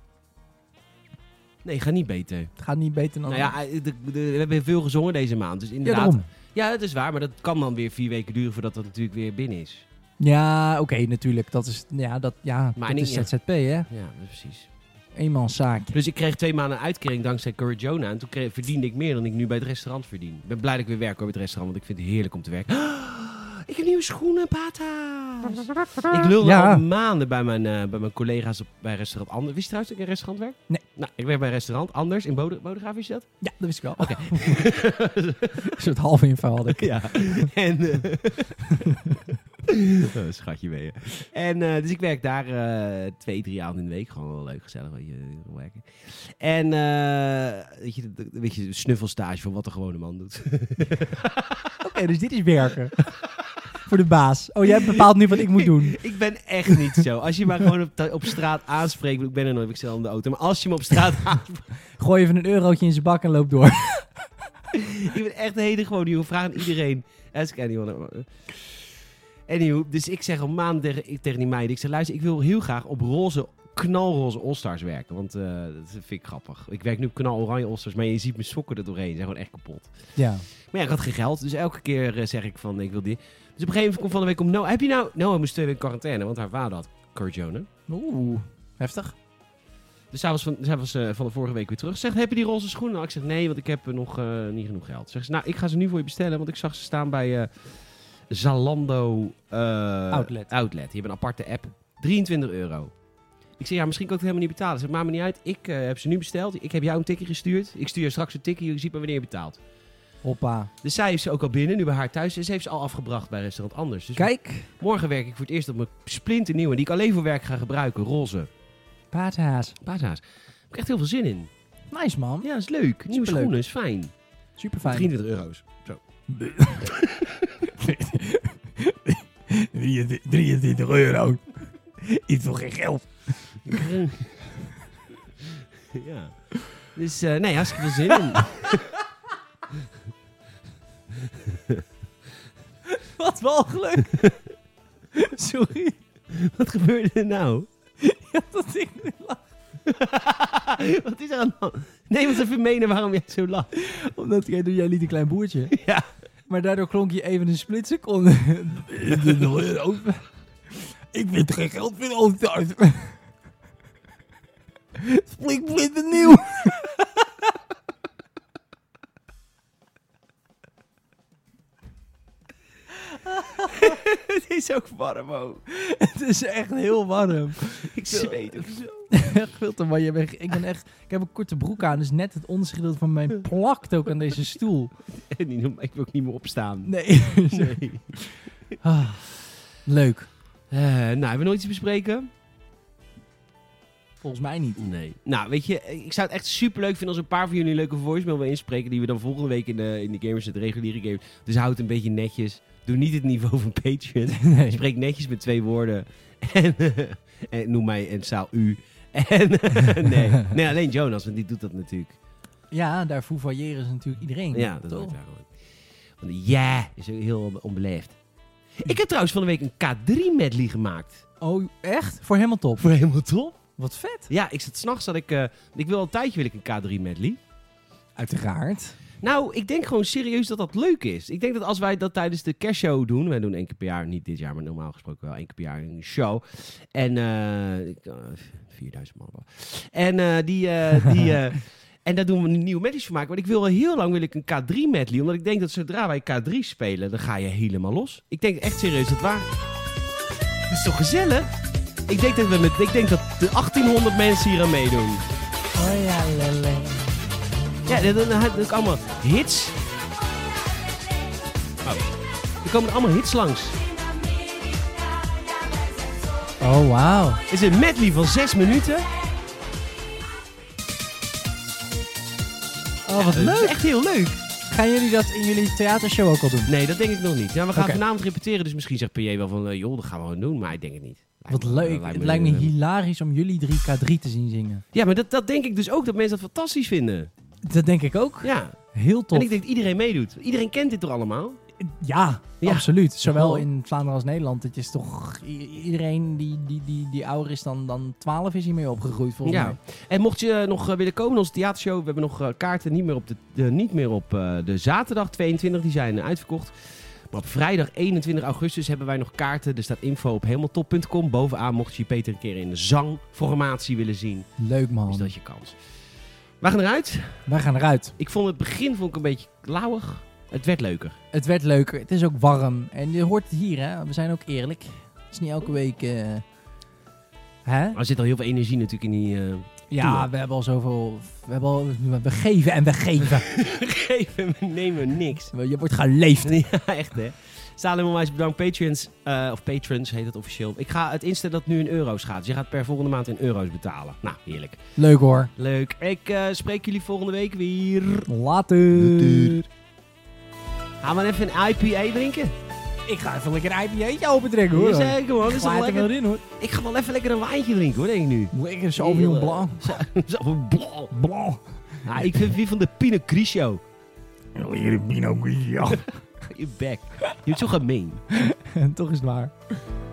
Speaker 1: Nee, ga niet beter.
Speaker 2: Het gaat niet beter dan...
Speaker 1: Nou ja, eh, de, de- we hebben veel gezongen deze maand. Dus
Speaker 2: ja,
Speaker 1: inderdaad.
Speaker 2: daarom.
Speaker 1: ja, dat is waar. Maar dat kan dan weer vier weken duren voordat dat natuurlijk weer binnen is.
Speaker 2: Ja, oké, natuurlijk. Dat is... Ja, dat, ja,
Speaker 1: Maar
Speaker 2: dat
Speaker 1: niet
Speaker 2: is
Speaker 1: echt.
Speaker 2: ZZP, hè?
Speaker 1: Ja, precies.
Speaker 2: eenmanszaak.
Speaker 1: Dus ik kreeg twee maanden uitkering dankzij Corrigiona. En toen kreeg, verdiende ik meer dan ik nu bij het restaurant verdien. Ik ben blij dat ik weer werk hoor, bij het restaurant, want ik vind het heerlijk om te werken. <gasps> Ik heb nieuwe schoenen, pata's. Ik lulde
Speaker 2: Ja.
Speaker 1: al maanden bij mijn, eh, bij mijn collega's op, bij restaurant Anders. Wist je trouwens dat ik in een restaurant werk?
Speaker 2: Nee.
Speaker 1: Nou, ik werk bij een restaurant Anders in Bode- Bodegraaf, wist je dat?
Speaker 2: Ja, dat wist ik wel. Oké.
Speaker 1: <laughs>
Speaker 2: <laughs> een soort halve info had ik.
Speaker 1: Ja. En.
Speaker 2: <laughs>
Speaker 1: eh, oh, <laughs> schatje ben je. En, eh, dus ik werk daar eh, twee, drie avonden in de week. Gewoon wel leuk, gezellig. Weet je, eh, werken. En. eh, weet je, dat- dat- weet je, snuffelstage van wat een gewone man doet.
Speaker 2: Oké, dus dit is werken. <laughs> Voor de baas. Oh, jij bepaalt nu wat ik moet
Speaker 1: <laughs>
Speaker 2: doen.
Speaker 1: ik ben echt niet zo. Als je maar gewoon op, ta- op straat aanspreekt. Ik ben er nooit, ik zelf in de auto. Maar als je me op straat
Speaker 2: <laughs>
Speaker 1: aanspreekt.
Speaker 2: Gooi even een eurotje in zijn bak en loop door. <laughs>
Speaker 1: <laughs> Ik ben echt een hele gewone jongen. Vraag aan iedereen. Ask anyone. eh. Anywho, dus ik zeg al maanden tegen, ik- tegen die meiden. Ik zeg, luister, ik wil heel graag op roze, knalroze all-stars werken. Want eh, dat vind ik grappig. Ik werk nu op knaloranje all-stars, maar je ziet mijn sokken er doorheen. Ze zijn gewoon echt kapot.
Speaker 2: Ja.
Speaker 1: Maar ja, ik had geen geld. Dus elke keer eh, zeg ik van, ik wil dit. Dus op een gegeven moment komt van de week om Noah. Heb je nou... Noah moest twee weken quarantaine, want haar vader had corona.
Speaker 2: Oeh, heftig.
Speaker 1: Dus zij was, van, zij was eh, van de vorige week weer terug. Zegt, heb je die roze schoenen? al? Ik zeg, nee, want ik heb eh, nog eh, niet genoeg geld. Zegt ze, nou, ik ga ze nu voor je bestellen. Want ik zag ze staan bij eh Zalando eh,
Speaker 3: Outlet.
Speaker 1: Outlet. Die hebben een aparte app. 23 euro. Ik zeg, ja, misschien kan ik het helemaal niet betalen. Ze zegt, maakt me niet uit. Ik eh, heb ze nu besteld. Ik heb jou een tikkie gestuurd. Ik stuur je straks een tikkie. Je ziet maar wanneer je betaalt.
Speaker 2: Hoppa.
Speaker 1: Dus zij heeft ze ook al binnen, nu bij haar thuis. En ze heeft ze al afgebracht bij restaurant Anders. Dus
Speaker 2: Kijk.
Speaker 1: morgen werk ik voor het eerst op mijn splinternieuwe... die ik alleen voor werk ga gebruiken, roze.
Speaker 2: Paardhaas.
Speaker 1: Paashaas. Daar heb ik echt heel veel zin in.
Speaker 2: Nice, man.
Speaker 1: Ja, is leuk. Nieuwe
Speaker 2: Superleuk.
Speaker 1: schoenen is fijn.
Speaker 2: Super fijn.
Speaker 1: 23 <laughs> euro's. Zo.
Speaker 2: 23 euro. Iets voor geen geld.
Speaker 1: ja. Dus eh, nee, hartstikke veel zin in. <laughs>
Speaker 2: <laughs> Wat walgelijk. Sorry
Speaker 1: Wat gebeurde er nou? <laughs>
Speaker 2: dat ik nu lach.
Speaker 1: Wat is er aan de hand? Neem eens even mee naar waarom jij zo lacht.
Speaker 2: Omdat jij, jij liet een klein <laughs> boertje.
Speaker 1: Ja.
Speaker 2: Maar daardoor klonk je even een splitseconde. <laughs> ik vind geen geld voor al thuis. <laughs> Splik blind nieuw. <laughs>
Speaker 1: Het is ook warm ook.
Speaker 2: Het is echt heel warm.
Speaker 1: Ik zweet ook <laughs> zo.
Speaker 2: <laughs> Echt veel te warm. Je bent- Ik, ben echt, ik heb een korte broek aan, dus net het onderste gedeelte van mij plakt ook aan deze stoel.
Speaker 1: En niet- Ik wil ook niet meer opstaan.
Speaker 2: Nee. <laughs>
Speaker 1: Nee.
Speaker 2: Ah, leuk.
Speaker 1: Eh, nou, hebben we nog iets te bespreken?
Speaker 2: Volgens mij niet.
Speaker 1: Nee. Nou, weet je, ik zou het echt super leuk vinden als een paar van jullie een leuke voicemail willen inspreken. Die we dan volgende week in de, in de gamers, het reguliere gamers. Dus houd het een beetje netjes. Doe niet het niveau van Patreon.
Speaker 2: <laughs> Nee.
Speaker 1: Spreek netjes met twee woorden. <laughs> En, eh, en noem mij en zaal u. <laughs> En, eh, nee. nee, alleen Jonas, want die doet dat
Speaker 2: <laughs>
Speaker 1: natuurlijk.
Speaker 2: Ja, daar foevailleren is natuurlijk iedereen.
Speaker 1: Ja, dat
Speaker 2: toch?
Speaker 1: hoort daar gewoon. Want ja, is ook heel onbeleefd. Ik heb trouwens van de week een K3-medley gemaakt.
Speaker 2: Oh, echt? Voor helemaal top.
Speaker 1: Voor helemaal top.
Speaker 2: Wat vet.
Speaker 1: Ja, ik zat s'nachts, ik... eh, ik wil al een tijdje wil ik een K3-medley.
Speaker 2: Uiteraard.
Speaker 1: Nou, ik denk gewoon serieus dat dat leuk is. Ik denk dat als wij dat tijdens de kerstshow doen... Wij doen één keer per jaar, niet dit jaar, maar normaal gesproken wel één keer per jaar een show. En eh, ik, eh, 4000 man. wel. En eh, die... eh, die eh, en daar doen we een nieuwe medley van maken. Want ik wil al heel lang wil ik een K3 medley. Omdat ik denk dat zodra wij K3 spelen, dan ga je helemaal los. Ik denk echt serieus dat waar. Dat is toch gezellig? Ik denk dat, we met, ik denk dat de 1800 mensen hier aan meedoen.
Speaker 2: Oh ja, lele.
Speaker 1: Ja, dan- dan dan heb ik allemaal hits. Oh. Er komen allemaal hits langs.
Speaker 2: Oh, wauw.
Speaker 1: Het is een medley van zes minuten.
Speaker 2: Oh, wat
Speaker 1: Dat is
Speaker 2: leuk.
Speaker 1: echt heel leuk.
Speaker 2: Gaan jullie dat in jullie theatershow ook al doen?
Speaker 1: Nee, dat denk ik nog niet. Ja, we gaan
Speaker 2: Oké.
Speaker 1: vanavond repeteren, dus misschien zegt PJ wel van... eh, joh, dat gaan we gewoon doen, maar ik denk het niet.
Speaker 2: Wat leuk. Het lijkt me hilarisch om jullie 3K3 te zien zingen.
Speaker 1: Ja, maar dat, dat denk ik dus ook, dat mensen dat fantastisch vinden.
Speaker 2: Dat denk ik ook.
Speaker 1: Ja,
Speaker 2: Heel
Speaker 1: en
Speaker 2: tof.
Speaker 1: ik denk dat iedereen meedoet. Iedereen kent dit toch allemaal?
Speaker 2: Ja,
Speaker 1: Ja.
Speaker 2: absoluut. Zowel
Speaker 1: Ja.
Speaker 2: in Vlaanderen als Nederland. Het is toch... i- Iedereen die, die, die, die ouder is dan, dan 12 is hiermee opgegroeid, volgens
Speaker 1: Ja.
Speaker 2: mij.
Speaker 1: En mocht je eh, nog eh, willen komen naar onze theatershow, we hebben nog eh, kaarten niet meer op, de, de- niet meer op eh, de zaterdag 22, die zijn eh, uitverkocht. Maar op vrijdag 21 augustus hebben wij nog kaarten. Er staat info op hemeltop.com. Bovenaan mocht je Peter een keer in de zangformatie willen zien.
Speaker 2: Leuk man.
Speaker 1: Is dat je kans. We gaan eruit.
Speaker 2: Wij gaan eruit.
Speaker 1: Ik vond het begin vond ik een beetje lauwig. Het werd leuker.
Speaker 2: Het werd leuker. Het is ook warm. En je hoort het hier, hè. We zijn ook eerlijk. Het is niet elke week... eh, Hè?
Speaker 1: Maar er zit al heel veel energie natuurlijk in die... eh, <laughs>
Speaker 2: Ja, we hebben al zoveel... We, hebben al, we geven en we geven.
Speaker 1: geven, we nemen niks.
Speaker 2: je wordt geleefd.
Speaker 1: Ja, <laughs> echt hè. Salem onwijs bedankt. Patrons, eh, of patrons heet het officieel. Ik ga het instellen dat het nu in euro's gaat. Dus je gaat per volgende maand in euro's betalen. Nou, heerlijk.
Speaker 2: Leuk hoor.
Speaker 1: Leuk. Ik eh, spreek jullie volgende week weer.
Speaker 2: Later.
Speaker 1: Gaan we even een IPA drinken?
Speaker 2: Ik ga even lekker een IPA'tje opentrekken
Speaker 1: Hoe
Speaker 2: hoor.
Speaker 1: zeg man. Is wel
Speaker 2: Glijdt er wel
Speaker 1: lekker.
Speaker 2: in hoor.
Speaker 1: Ik ga wel even lekker een wijntje drinken hoor, denk ik nu.
Speaker 2: Lekker Sauvignon
Speaker 1: Heel, eh,
Speaker 2: Blanc.
Speaker 1: <laughs> Zo, blauw.
Speaker 2: Blanc.
Speaker 1: Nou, ik vind wie van de Pinot Grigio. <laughs>
Speaker 2: Lekker Pinot Grigio.
Speaker 1: Je bek. Je bent zo gemeen.
Speaker 2: En <laughs> toch is het waar.